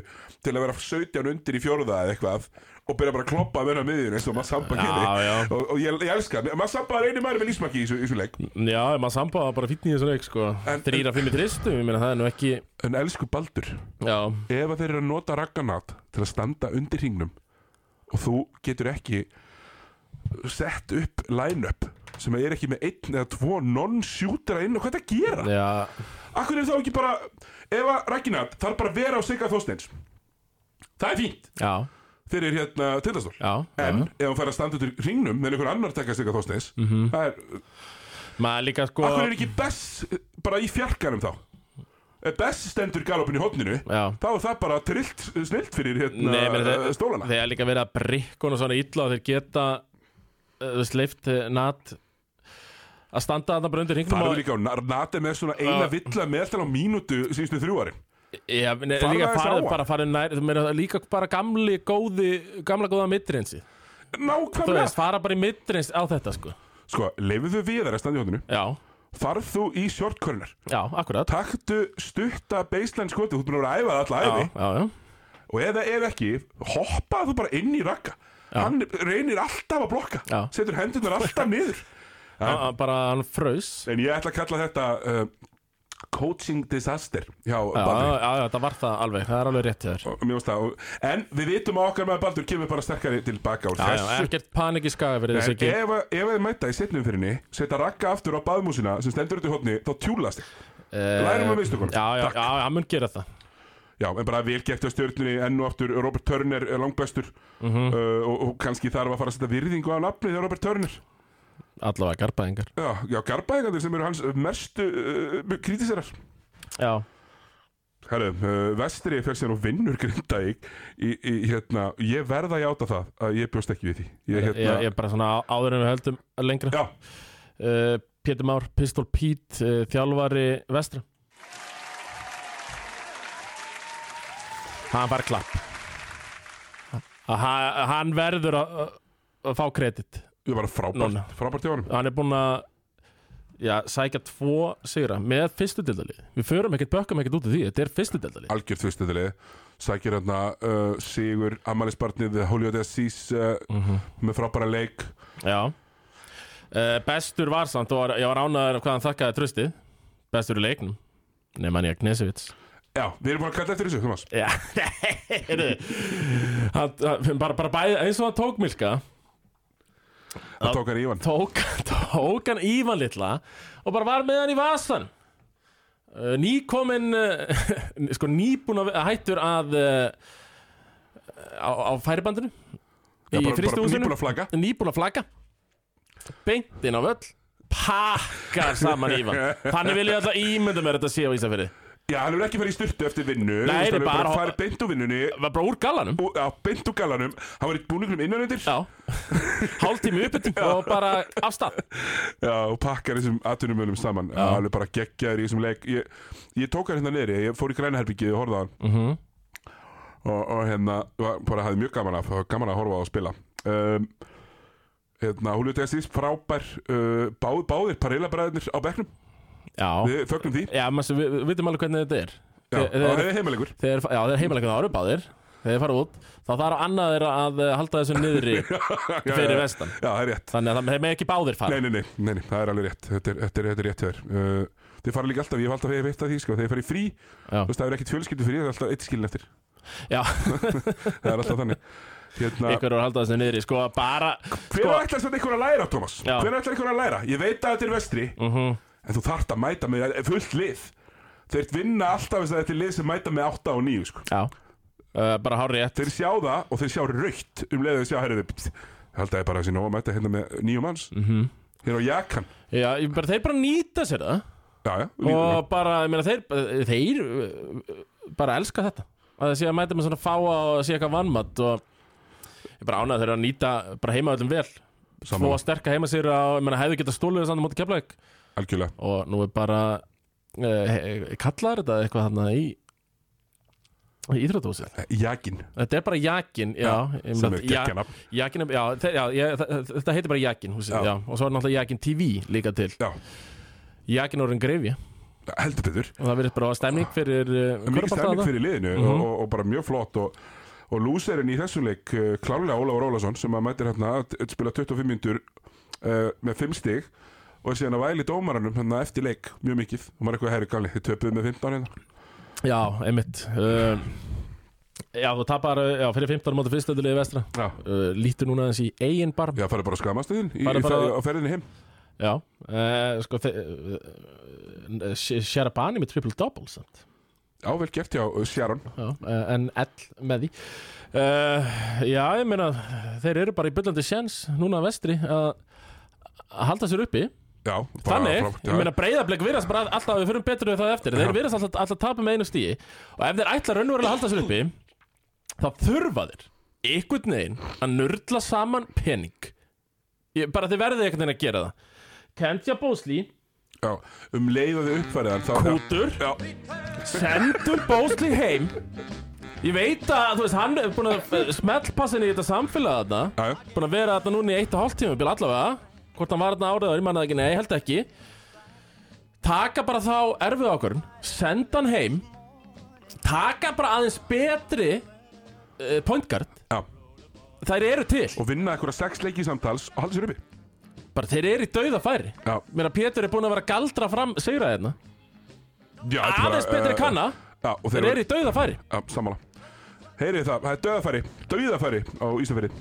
til að vera 17 undir í fjóruða eða eitthvað og byrja bara að kloppa að vera miðjun eins og maður samba Já, já. gerði og, og ég, ég elska, hann. maður samba er einu maður með lífsmakki í þessu- í þessu leik Já, ef maður sambáða bara fínn í þessu leik sko En- Þrýra fimm í tristum, ég meina það er nú ekki En elsku Baldur, Já, ef að þeir eru að nota ragganat til að standa undir hringnum og þú getur ekki sett upp line-up sem er ekki með einn eða tvo non-shootera inn og hvað er þetta að gera? já, Akkur er þá ekki bara Ef að Ragginat þarf bara að vera á Sigga Þorsteins Það er fínt já, Fyrir hérna tindastól já, já. En ef hann fær að standa út í hringnum Með einhver annar taka Sigga Þorsteins mm -hmm. er, Maður líka sko Akkur er ekki Bess eh, bara í fjarkanum þá Ef Bess stendur galopin í hotninu Já. Þá er það bara trillt eh, snillt fyrir hérna Nei, meni, eh, stólana Þegar líka verið að brikkun og svona illa og þeir geta uh, sleift nat að standa þarna bara undir hringum Farðu líka á Na- Nate með svona eina Já. villa meðallan á mínútu síðustu þrjúari Já, meni, Farðu líka aðeins á farið hann. bara farið nær þú meina, líka bara gamli góði gamla góða mittrensi þú Nákvæmlega veist, fara bara í mittrensi á þetta sko Sko, leifðu viðar að standa í hotninu Já, Farð þú í short corner já, akkurat taktu stutta baseline skoti, þú ert búin að vera að æfa það alla Já, æfi já, já, og ef það er ekki, hoppa þú bara inn í rakka hann reynir alltaf að blokka Já. setur hendurnar [LAUGHS] alltaf niður já bara hann fraus en ég ætla að kalla þetta uh, coaching disaster hjá Já, Baldur já, já, það var það alveg, það er alveg rétt hjá þér Og mér finnst það- og- en við vitum að okkar með Baldur kemur bara sterkari tilbaka úr Já, já, þessu ekkert panik í skaga fyrir þessu En ekki ef, ef þið mæta í setnum fyririnni setja rakka aftur á baðmúsina sem stendur út í hotni þá tjúlast þig lærum af mistökunum. Eh, Já, já, Takk. já, hann mun gera það Já, en bara vel gert á stjörnunni enn og aftur Robert Turner er langbæstur Mhm. uh, og, og kannski þarf að fara að setja virðingu á nafni þegar Robert Turner Allavega garbaðingar Já, já garbaðingandir sem eru hans merstu uh, kritiserar Já, Herru, uh, vestri fyrir sér og vinnur Grindavík í, í, hérna, ég verða að játa það að ég bjóst ekki við því Ég, hérna, ég, ég bara svona á- áður en við höldum lengra Já, uh, Pétur Már, Pistol Pete, uh, þjálfari vestra Hann fær klapp hann, hann verður að, að- að fá kredit ég var Núna. frábært, frábært hjá honum Hann er búinn að já, sækja tvo sigra með fyrstu deildalið Við förum ekkert, bökkum ekkert út af því, þetta er fyrstu deildalið algjört fyrstudili sækir hérna uh, Sigur Amalisbarnið, Hollywood Assis uh, Mhm. með frábæra leik Já uh, Bestur var samt, og var- ég var ánæður hvað hann þakkaði trösti Bestur í leiknum Nei, mann ég að Knesevits Já, við erum búin að kalla eftir þessu, Thomas Já, [LAUGHS] heyrðu hann, hann, bara, bara bæði, eins og hann tók Milka Það tók hann Ívan tók, [LAUGHS] tók hann Ívan litla og bara var með hann í vasan uh, nýkomin uh, [LAUGHS] sko nýbúin að hættur að uh, á, á færibandinu Já, í bara- bara fristihúsinu nýbúin að flagga. nýbúin að flagga beint inn á völl pakkar saman Ívan [LAUGHS] þannig vil ég alltaf ímynda mér að þetta sé á Ísafjörði Já, hann hefur ekki farið í styrtu eftir vinnu hann Nei, nei, hefur bara- bara farið beint úr vinnunni var bara úr gallanum og- Já, beint úr galanum Hann var í búningnum innan undir [LAUGHS] já hálftími uppbytting og bara af stað Já, og pakkar þessum atvinnumölum saman Já. Alveg bara geggjaður í þessum leik Ég, ég tók hann hérna niðri, ég fór í grænaherbyggið og horfði á hann Mhm. og, og hérna, var- bara hafði mjög gaman af það var Gaman að horfa á að spila um, Hérna, Julio Tessis, frábær uh, bá, Báðir pareilabræðinir á bekknum já Við fögnum því Já, maður, við við vitum alveg hvernig þetta er Já, Þe- það hefði [LAUGHS] heimilegur Þegar, já, þeir heimilega það eru báðir Þegar þeir fara út Þá þarf annað þeirra að eh, halda þessu [LAUGHS] niðri Fyrir vestan Já, það er rétt Þannig að það- þeir með ekki báðir fara Nei, nei, nei, nei, nei, það er alveg rétt Þetta er, þetta er, þetta er rétt hjá þér uh, Þið fara líka alltaf, ég hef alltaf veit að því sko. Þeir fara í frí, Já. þú veist, það er ekkit fjölskyldu frí Það er alltaf eitt skilin eftir, Já, það er alltaf þannig Hérna, ykkur eru að halda þessu niðri Sko, bara hver sko, ætlar þetta einhver að læra, Thomas? Já. Hver ætlar einhver að læra? Ég veit að þetta er vestri Mhm. En þú þarft að mæta með fullt lið Þeir vinna alltaf þess að þetta er lið sem mæta með 8 og 9 sko. Já Uh, bara hár rétt Þeir sjá það og þeir sjá raukt Um leiðu þeir sjá, herri, við Haldið þið bara að þessi nóg að mæta hérna með nýjum manns Mhm. Hér á Jakan Já, ég bara, þeir bara nýta sér það Já, já, Og bara, ég meina, þeir eh, Þeir uh, bara elska þetta Að það sé að mæta með svona fáa og sé eitthvað vannmatt Og ég bara ánægði þeir eru að nýta Bara heima öllum vel Fóa saman, sterka heima sér á, ég meina, hefðu getað stólið samt á móti keflæk algjörlega og nú er bara uh, kallaður þetta eitthvað þarna í í Íþrótahúsið. Eh, Jakin, Þetta er bara Jakin, já, ég meina, sem er ja, geggjanafn Jakin, er- já, þe- já ég, þa- þa- þetta heitir bara Jakin húsið, Já. já. og svo er náttúrulega Jakin TV líka til, Já, Jakin orðin grefi og heldur betur það verður bara stemning fyrir uh, Mikið körfubolta stærning þarna. fyrir liðinu Mhm. og, og bara mjög flott og, og lúserinn í þessu leik uh, klárlega Ólafur Ólafsson sem að mætir hérna að að spila 25 myndur uh, með 5 stig og er síðan að væli dómaranum hérna eftir leik mjög mikið og maður er eitthvað herri gamli, þið töpuðu með 15 hérna Já, einmitt um, Já, þú tapar uh, já, fyrir 15 móti fyrstöldulegi vestra Já, uh, Lítur núna aðeins í eigin barm já farið bara að skamast þín í, í Farðu bara- fer, á ferðinni heim Já, uh, sko þe- eh, eh, Sharabani með triple double samt. Já, vel gert hjá uh, Sharon Já, eh, en L með því uh, Já, ég meina þeir eru bara í byllandi sjens núna að vestri að að halda sér uppi Já, bara Þannig, frábært, já. ég meina breyðablik virðast bara alltaf við förum betur við það eftir Já. Þeir virðast alltaf, alltaf tapa með einu stíi og ef þeir ætla raunverulega að halda sér uppi þá þurfa þeir einhvern veginn að nörla saman pening ég, bara þeir verði einhvern veginn að gera það Kentja Bósli já, Um leiðaði uppfæriðan þá, Kútur Já, Sendur Bósli heim Ég veit að, þú veist, hann er búin að smellpassa inn í þetta samfélag þarna já, já, Búin að vera þarna núna í eitt og hálft tíma Bíl allavega Hvort hann var þarna árið áriðar, ég manna ekki, nei, ég held ekki Taka bara þá erfið okkur Senda hann heim Taka bara aðeins betri uh, Point guard já Þær eru til Og vinna einhverja sex leiki samtals og halda sér uppi Bara þeir eru í dauðafæri Já, Mér að Pétur er búin að vera að galdra fram sigra hérna já þetta er bara, Aðeins betri uh, kanna Já, og Þeir eru í dauðafæri Já, sammála Heyrið það, það er döðafæri Döðafæri á Ísafæri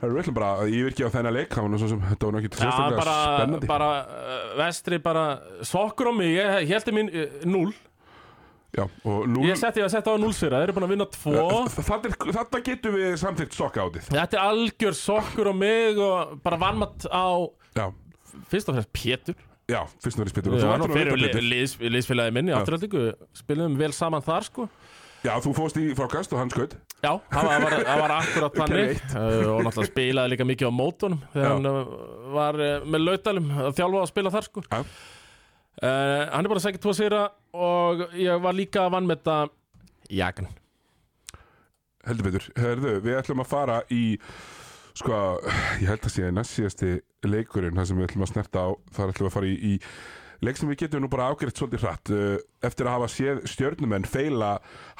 Það eru veitlega bara að yfirgefa þennan leik Það var nú svo sem þetta var nú ekki Já, sérstaklega bara, spennandi bara uh, vestri bara svokkur á mig, ég heldi mín uh, núl Já, og nú Ég setti ég að setja á núlsfyrra, þeir eru búin að vinna tvo Þetta getum við samþýrt sokka átið Þetta er algjör sokkur á mig og bara vannmatt á Já, fyrst og fremst Pétur já, fyrst og næri spytur Já, Þú nú ættir nú að fyrir veita li, betur liðs, liðsfélagi minn í afturhaldingu spilum vel saman þar sko Já, þú fóst í frákast og hann skaut Já, það var, það var, það var akkurat þannig Greitt. uh, og náttúrulega spilaði líka mikið á mótunum þegar Já. hann uh, var uh, með lautalum að þjálfa að spila þar sko Já. Eh, Hann er bara að segja tvo sigra og ég var líka að vann með þetta Jagan Heldur betur Herðu, við ætlum að fara í Sko, ég held að sé næst síðasti leikurinn það sem við ætlum að snerta á, þar ætlum við að fara í, í leik sem við getum nú bara ágreitt svolítið hratt uh, eftir að hafa séð stjörnumenn feila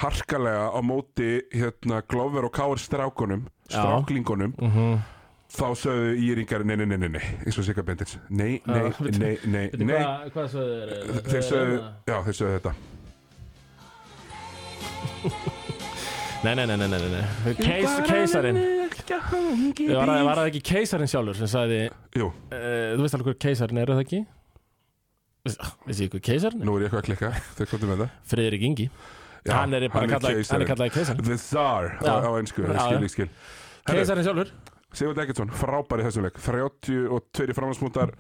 harkalega á móti hérna Glover og Káir strákunum Já. stráklingunum þá sögðu íringar nei, nei, nei, nei, nei eins og Sigga Bendits nei, nei, Já, nei, nei, Veitir, nei Hvað, Eh, hérna. hvað sögðu þeir? þeir sögðu, já, þeir sögðu þetta Nei, nei, nei, nei, nei, nei. Keis, Keisarin Var það- var það ekki keisarin sjálfur sem sagði Jú, Uh, þú veist alveg hver keisarin er er það ekki? Veist ég hver keisarin er? nú er ég eitthvað að klikka þeir komdu með það Friðrik Ingi já, Hann er bara kallaði keisarinn. keisarin The Tsar Já. á, á einsku, Já, skil, já. ég skil Herru, Keisarin sjálfur Sigurd Eggertsson, frábær í þessum leik 32 framhanspunktar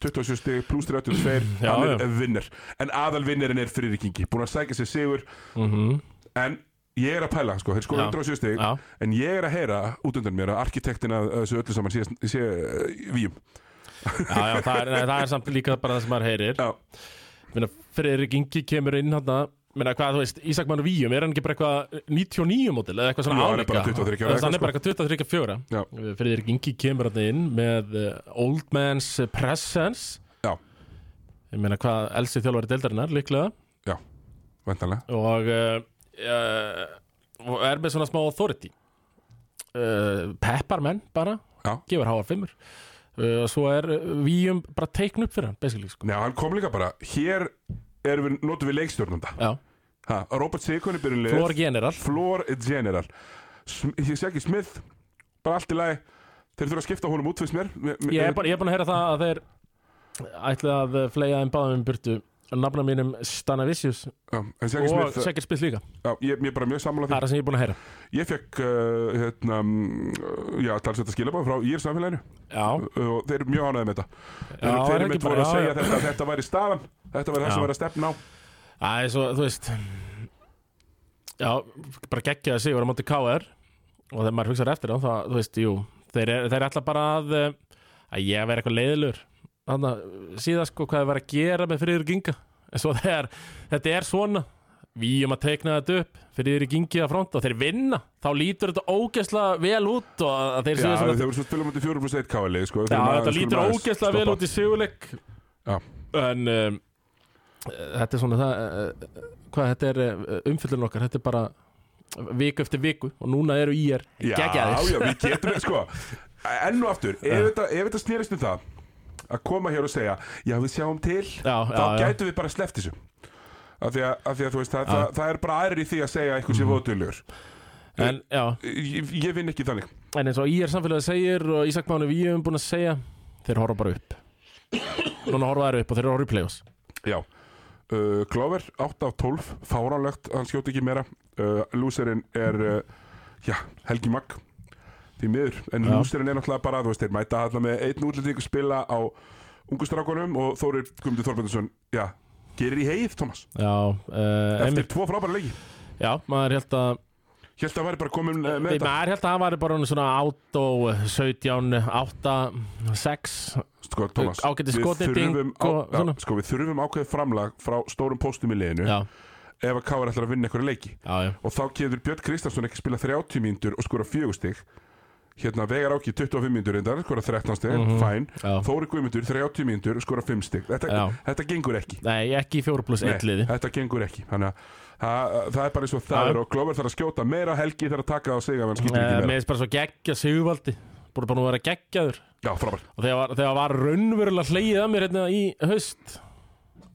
27 stig, pluss 32 Já, hann er já. vinnir, en aðal vinnerinn er Friðrikingi, búin að sækja sér Sigur Mhm. en ég er að pæla, sko, þeir sko Já. 107 stig Já, en ég er að heyra út undan mér að arkitektin að að þessu öllu saman sé, sé uh, víum já, já það, er, nei, það er samt líka bara það sem maður heyrir Já, Minna, Friðrik Ingi kemur inn hann Minna, hvað, þú veist, Ísak Mann Víum er hann ekki bara eitthvað 99 mótil eða eitthvað Jú, svona hann er bara álíka 23 ára Þú veist, hann er eitthvað, sko. bara eitthvað 23-4 já, Friðrik Ingi kemur hann inn með eh, Old Man's Presence Já. Ég meina hvað elsi þjálfari deildarinnar líklega vendanlega og, uh, og er með svona smá authority uh, peppar menn bara Já. gefur háa fimmur uh, og svo er víum bara teikn upp fyrir hann basically sko. Nei, hann kom líka bara, hér erum við, notum við leikstjórnanda Já, ha, Robert Sigurinn byrjun liðið Flór General Floor General Sm Ég segi Smith Bara allt í lagi Þeir þurfa að skipta honum út fyrst mér Mér- mér- Ég er bara- ég er búin að heyra það að þeir ætla að flega þeim báðum í burtu nafna mínum Stanavicius Já, En segi og Smith Sækir Spil líka já, Ég ég er bara mjög sammála það því er það sem ég er búin að heyra Ég fekk uh, hérna, mm, Já, talsett að skilabóð frá Ég er samfélaginu Já, uh, Og þeir eru mjög ánæðið með þetta Þeir Já, eru- Þeir er ekki eru mitt bara- voru að já, segja já. þetta Þetta væri staðan Þetta væri það Já. sem væri að stefna á það er svo, þú veist Já, bara geggjaði sigur á móti KR og þegar maður hugsaði eftir þá, það, þú veist, jú þeir, er, þeir ætla bara að eh, að ég vera eitthvað leiðilur þannig að síðan sko hvað þeir var að gera með Friður Ginga en svo þegar þetta er svona við um að teikna þetta upp Friður Gingi að fronta og þeir vinna þá lítur þetta ógeðslega vel út og að þeir Já, séu þeir svona voru svo spilum út í 4 plus 1 káli sko, Já, þetta lítur ógeðslega vel út í sigurleik Já. En um, Þetta er svona það uh, Hvað þetta er uh, umfyllun okkar Þetta er bara viku eftir viku Og núna eru í er Já, já, við getum sko Enn og aftur, ef þetta, ef þetta snerist um það að koma hér og segja já við sjáum til, Já, þá já, já. gætum við bara sleppt þessu af því að, af því að þú veist það, það, það er bara aðrir í því að segja eitthvað Mhm. sem vóðdölugur En, já, ég, ég vinn ekki þannig en eins og í er samfélagið segir Og Ísak Mánu við erum búin að segja Þeir horfa bara upp Núna horfa þeir upp og þeir horfa í play-offs já uh, Glover, 8 af 12, fáránlegt hann skjóti ekki meira uh, lúserinn er, uh, já, Helgi Magg því miður, en Já. lúserinn er náttúrulega bara, þú veist, þeir mæta hann með einn útlendingu spila á ungustrákunum og Þórir Guðmundur Þorbjörnsson já, gerir í heið, Thomas Já, uh, eftir einmitt, tvo frábæra leiki já maður held að Hjælt að það væri bara komin uh, með Nei, þetta maður held að hann var bara orðinn svona 8 og 17, 8, 6 Sko, Thomas, ágætis við skotnýting þurfum á, og já, svona. sko, við þurfum ákveðið framlag frá stórum póstum í liðinu Já, ef að Káar ætlar að vinna einhverja leiki já, já og þá getur Björn Kristjánsson ekki spila 30 mínútur og skora fjögustig hérna Vegar Áki 25 mínútur reyndar, skora 13 stig, mm fæn Mhm, Já. Þóri Guðmundur 30 mínútur, skora 5 stig þetta, Já. þetta gengur ekki Nei, ekki í fjóru pluss Nei, eitt liði þetta gengur ekki Þannig að það, það er bara eins og það Já. er og Glover þarf að skjóta meira helgi þarf að taka það á sig að hann skýtur Eh, ekki Mér meira finnst bara svo geggja sigurvaldi Búið bara nú að vera geggjaður Já, frábær Og þegar var, þegar var raunverulega hleyið að mér hérna í haust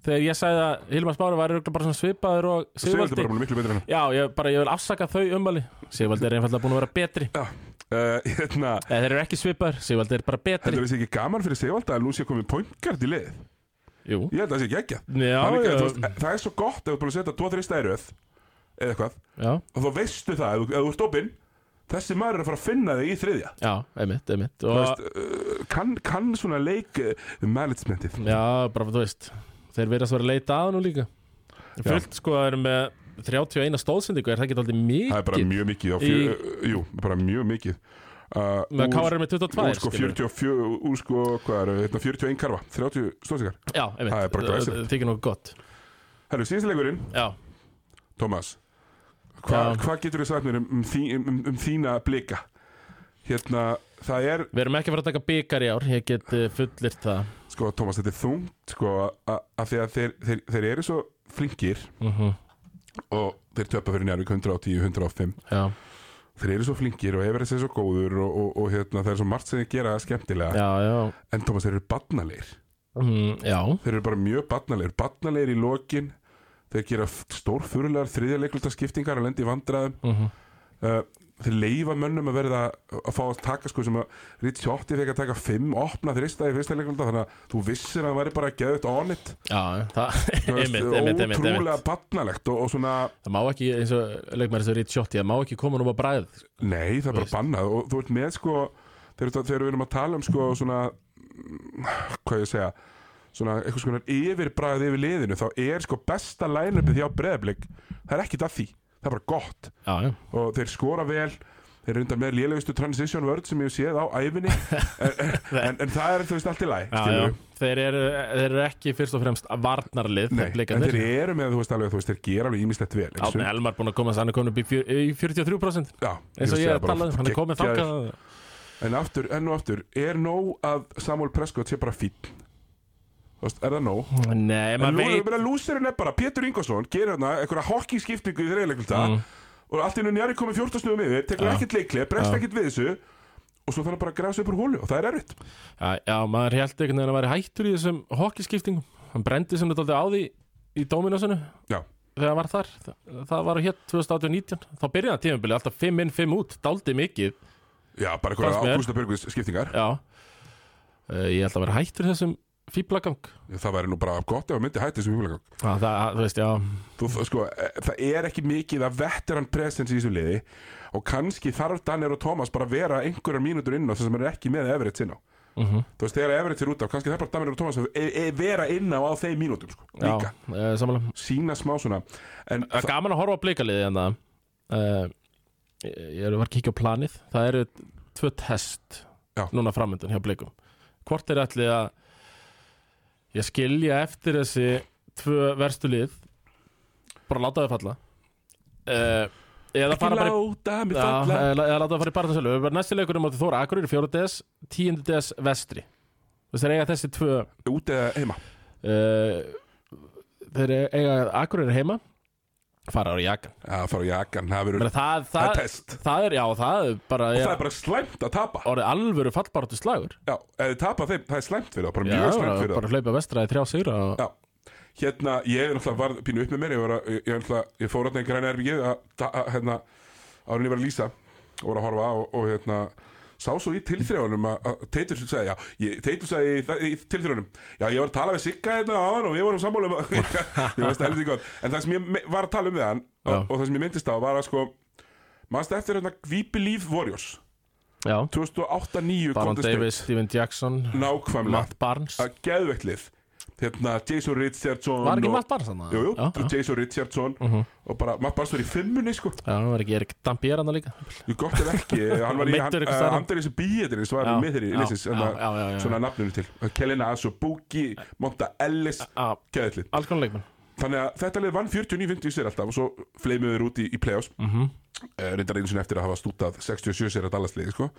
Þegar ég sagði að Hilmar Smári var örugglega bara svona svipaður og Sigvaldi sigurvaldi bara múlið miklu betri en hann Já, ég, bara, ég vil afsaka þau umvali Sigurvaldi er einfallega búin að vera betri Já, uh, hérna Eða þeir eru ekki svipaður, Sigurvaldi er bara Heldur betri þessi ekki gaman fyrir Sigvaldi að Lúcia komið pointgard í lið? Jú, Ég held að það sé ekki ekki já, ekki, þú já, veist, eh, Það er svo gott ef þú búin að setja 2-3 stæröð eða eitthvað já, og þá veistu það, ef þú- ef þú ert opinn þessi maður er að fara að finna þig í þriðja já, einmitt, einmitt Þú og, veist, uh, kann, kann svona leik uh, managementið Já, bara þú veist Þeir verðast vera að leita að nú líka Fullt sko að eru með 31 stóðsendingu Er það ekki alltaf mikið? það er bara mjög mikið á fjö, uh, jú, bara mjög mikið uh, Með KR er með úr 22 sko skilurðu. 44 úr sko, hvað eru, hérna 41 karfa 30 stóðsingar Já, einmitt Það er bara glæsilegt. Það þykir nokkuð gott Herru, síðasta leikurinn, Já, Tómas Já. hvað hva getur þið sagt mér um, um, þí- um, um, um þína blika? hérna, það er Við erum ekki að fara að taka byggar í ár, ég get uh, fullirt það. sko, Tómas, þetta er þungt sko, að því að þeir, þeir, þeir eru svo flinkir Mm og þeir töpa fyrir Njárvík 110, 105 Já, þeir eru svo flinkir og hefur þessi svo góður og, og, og hérna, það er svo margt sem þeir gera skemmtilega já, já. en Tómas, þeir eru barnalegir Mm, já, þeir eru bara mjög barnalegir barnalegir í lokin þeir gera stórfyrulegar þriðja leikluta skiptingar og lendi í vandræðum mm uh, þeir leifa mönnum að verða að fá að taka sko sem að Ritsi Otti fekk að taka fimm opna þrista í fyrsta leikluta þannig að þú vissir að hann væri bara að geða þetta on it já, já, það, [LAUGHS] Þú veist, einmitt, einmitt, einmitt, ótrúlega einmitt. barnalegt og, og svona Það má ekki, eins og leikmæri sem rít sjótti, það má ekki koma núma bræð. nei það er bara veist. bannað og þú ert með sko þegar, þú- þegar við erum að tala um sko svona mm, hvað ég segja svona eitthvað svona yfirbræð yfir liðinu þá er sko besta line-upið hjá breðablik það er ekkit að því, það er bara gott Já, já, og þeir skora vel þeir eru undan með lélegustu transition word sem ég hef séð á [LAUGHS] æfinni en, en, en það er þú veist allt í læg já, já. Þeir eru, þeir eru ekki fyrst og fremst Nei, varnarlið, en þeir blikandir. eru með þú veist alveg þú veist, þeir gera alveg ímislegt vel eins og- Átni Elmar búin að komast, hann er komin upp í, fjör, í 43%. já, veist, Eins og ég það er bara talaði, um, hann er komið geggjaður. þangað. en aftur, enn og aftur, er nóg að Samuel Prescott sé bara fín Þú veist, er það nóg? Nei, En maður nú er veit. bara lúserinn er bara, Pétur Ingvarsson gerir hérna einhverja hockeyskiptingu í þrejuleikulta mm. og allt innu njari komið 14 snugum yfir tekur Já. ekkert leiklið, bregst ekkert við þessu og svo þarf hann bara að grafa sig upp úr hólu og það er erfitt Já, já, maður held einhvern veginn að væri hættur í þessum hokkiskiptingum. Hann brendi sem þetta aldrei á því í Dóminasinu Já, þegar hann var þar. Það, það var hér 2019. Þá byrjaði hann tímabilið alltaf 5 inn, 5 út, dáldi mikið. Já, bara Fannst eitthvað mér. Ágústa Björgvins skiptingar Já. Uh, ég held að vera hættur í þessum fýblagang. Það væri nú bara gott ef að myndi hætti þessu fílagang Já, það, það- þú veist, já. Þú, sko, eh, það er ekki mikið að veteran presence í þessu liði og kannski þarf Danir og Thomas bara að vera einhverjar mínútur inn á þess að maður er ekki með Everett inn á Uh Þú veist, þegar Everett er út af, kannski þarf bara Danir og Thomas að e e vera inn á á þeim mínútum sko, já, líka, uh, samanlega. sína smá svona En Það er gaman að horfa á blikaliði en það uh, Ég er að var að kíkja á planið Það eru tvö test Já. Núna framöndan hjá blikum Hvort er ætlið að Ég skilja eftir þessi Tvö verstu lið Bara láta þau falla uh, Eða ekki fara bara í láta mig Já, eh. falla eða eða láta það fara í barðarsölu Við verðum næsti leikur um átti Þóra Akureyri 4. DS 10. DS Vestri Þess er eiga þessi tvö Út eða heima uh, Þeir eiga Akureyri heima Fara á jakan Já, fara á jakan, það verður Menna, það, það, Það er test. það er, já, það er bara, Og er, það er bara slæmt að tapa orðið alvöru fallbáratu slagur Já, ef þið tapa þeim, það er slæmt fyrir það Bara Já, mjög slæmt fyrir það bara hlaupa vestra í þrjá sigra og, Já, hérna, ég er náttúrulega varð pínu upp með mér, ég, var að, ég, ég, náttúrulega- ég fór hérna í græna erbyggið að, að, að hérna, árið ég var að lýsa og var að horfa og, og hérna, sá svo í tilþrjáunum að að Teitur sagði, já, ég, Teitur sagði í, þa- í tilþrjáunum, já, ég var að tala við Sigga hérna áðan og við vorum sammála um að, [LAUGHS] ég veist það heldur gott, en það sem ég me- var að tala um við hann og, Já. og það sem ég myndist á var að sko, mannst eftir hérna Gvípi Líf Warriors, já, 2008-9 Baron Davis, Steven Jackson nákvæmlega, Matt Barnes að geðveikt lið hérna Jason Richardson Var ekki og- Matt Barnes hann? Jú, jú, já, já, Mhm. Jason Richardson og bara Matt Barnes var í fimmunni sko já, var ekki Erik Dampier hann líka Jú, gott ef ekki, hann var í [LAUGHS] Meiddur hann- einhvers eh, staðar. Andrés Bíetirins var Já, í miðri já, liðsins, já, hérna, já, já, já. svona nafninu til Kelina Asso, Boogie, Monta Ellis Já, Gæðlið, alls konar leikmenn þannig að þetta lið vann 49-50 sér alltaf og svo fleimuðu þeir út í, í playoffs Mhm. Eh, reyndar einu sinni eftir að hafa stútað 67 sér að dalasliði sko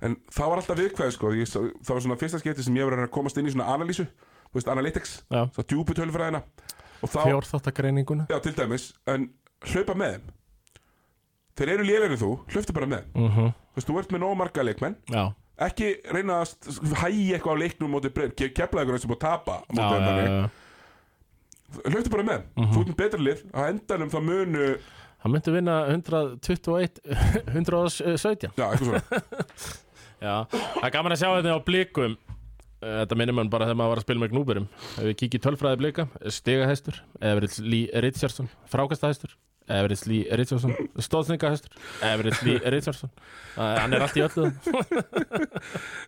en það var alltaf viðkvæði sko ég, sá- það var svona fyrsta skipti sem ég var að reyna að komast inn í svona analýsu, þú veist, analytics Já. svo djúpu tölfræðina og þá Fjórþáttagreininguna Já, til dæmis, en hlaupa með þeim Þeir eru lélegri en þú, hlauptu bara með þeim uh -huh. Þú veist, þú ert með nóg marga leikmenn Já, Ekki reyna að st- hægja eitthvað á leiknum móti breyf Keflaði eitthvað sem búið að tapa á já, móti já, þeim Mhm. já, þannig. já. Hlauptu bara með þeim, þú ert með betra lið Á endanum það munu, Hann myndi vinna [LAUGHS] 121 117 já, eitthvað [LAUGHS] svona Já, það er gaman að sjá þetta á blikum Eh, Þetta minnir mann bara þegar maður var að spila með gnúberum Ef við kíkjum í tölfræði blika Stegahæstur, Everett Lee Richardson Frákastahæstur, Everett Lee Richardson Stóðsningahæstur, Everett Lee Richardson Það- Hann er allt í öllu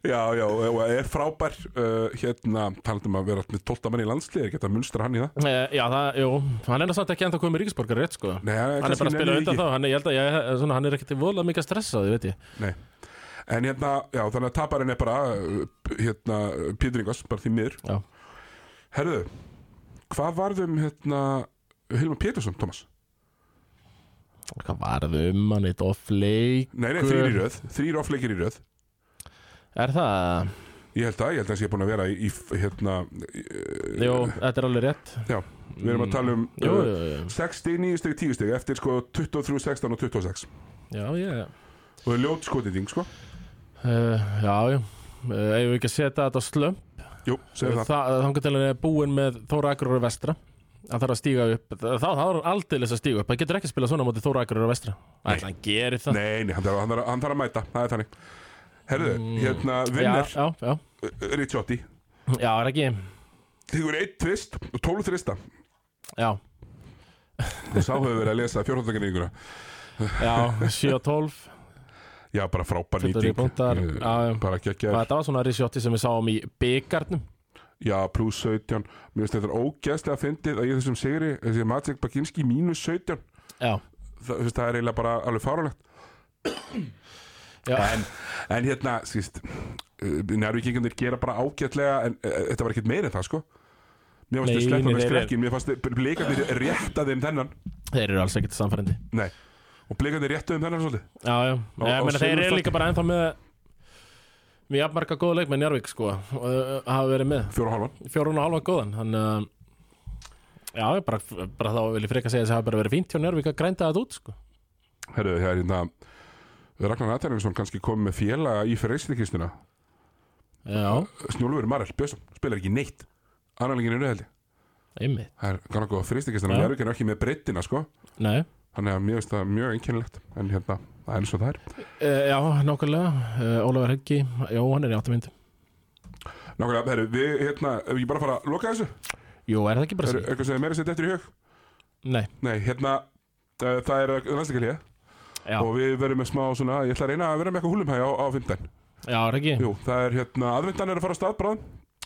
Já, já, og er frábær uh, Hérna, talandum að vera með 12 mann í landslið Er ekki að munstra hann í það? Eh, Já, það, jú, hann er nú samt ekki ennþá komið ríkisborgar rétt sko Nei, Hann er bara að spila undan það þá, hann er, ég held að ég, eh, svona, hann er ekkert voðlega mikið að stressa því, veit ég Nei En hérna, já, þannig að taparinn er bara uh, Hérna, Pétur Ingvars, bara því miður Já, Herðu, um, hvað varðum hérna Hilmar Pétursson, Thomas? Hvað varðu um hann eitt off-leik? Nei, nei, þrýr í röð, þrýr offleikir í röð Er það? Ég held að, ég held að það sé búin að vera í, í hérna í, Jú, þetta er alveg rétt Já, við erum að tala um Jú, uh, jú, jú. 6 stig, 9 stig, 10 stig eftir sko 23, 16 og 26 já, ég og það er ljót skotiting sko uh, Já, já Uh, eigum við ekki að setja þetta á slum Jú, segir það, þangar til hann er búinn með Þóra Akurur og Vestra hann þarf að stíga upp þá þá er hann aldeilis að stíga upp hann getur ekki að spila svona móti Þóra Akurur og Vestra Ætli hann gerir það Nei, nei, hann þarf, hann, þarf, hann þarf að mæta, það er þannig Herðu, hérna, vinnar Mm, já, já, uh, Ricciotti já, já, er ekki Þegar eitt tvist og 12 þrista já, og sá hefur verið að lesa fjórhundakarninguna já, 7 og 12 Já, bara frábær 23 nýting punktar, Eh, já, já. Bara og geggja þetta var svona risjótti sem við sáum í byggarnum Já, pluss 17 Mér finnst þetta ógæðslega fyndið að ég þessum sigri þessi Maciek Baginski mínus 17 já, það, þú veist, það er eiginlega bara alveg fáránlegt já, en, en hérna, skýst Njárvíkingandir gera bara ágætlega en uh, þetta var ekkert meira en það, sko Mér fannst Nei, þið nei, sleppa með nei, nei. skrekkin Mér fannst þið blikandir rétta þeim þennan þeir eru alls ekkert samfærendi Nei, og blikandir rétta þeim þennan svolítið já, já, Á- á ég meina þeir Silfurfati. eru líka bara ennþá með við jafnmarka góða leik með Njárvík sko, og uh, hafa verið með Fjóra og halvan fjórun og halva góðan hann uh, já, ég bara, bara þá vil ég freka segja að það hafa bara verið fínt hjá Njárvík að grænda þetta út sko. Herru, það er hérna Ragnar Nathanielsson kannski komið með félaga í freystikistuna já, Snjólfur Marell Björnsson spilar ekki neitt Annarlegin er nöðhaldi einmitt Það er gana góð freystikistuna Já. Njárvík er ekki með breyttina, sko nei, Þannig að mér finnst það mjög einkennilegt En hérna, það er eins og það er uh, já, nákvæmlega uh, Ólafur Helgi, já, hann er í 8 mynd Nákvæmlega, herru, við, hérna, ef ég bara fara að loka þessu jú, er það ekki bara Er sér? eitthvað sem er meira sett eftir í hug? nei, Nei, hérna, uh, það er landsleikalíða já, Og við verðum með smá svona, ég ætla að reyna að vera með eitthvað húlumhæg á, á fimmtæn já, er það ekki Jú, það er hérna, aðvendan er að fara á stað bráðum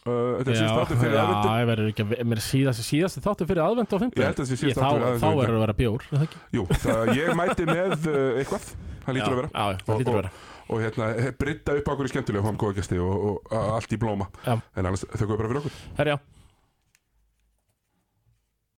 uh, Þetta er síðast Já, aftur fyrir aðvendan já, ég verður ekki að mér er síðasti, síðasti þáttu fyrir aðvend og fimmtudaginn. Ég held að þessi síðasti Ég- þáttur aðventu þá- Þá á fimmtudaginn. verður það að vera bjór, er það ekki? Jú, það, ég mæti með uh, eitthvað, það lítur að vera Já, já, það Og- lítur að og- vera Og hérna, brydda upp okkur í skemmtilega, fáum góða gesti og, og, og allt í blóma Já. En annars, þau bara fyrir okkur Herjá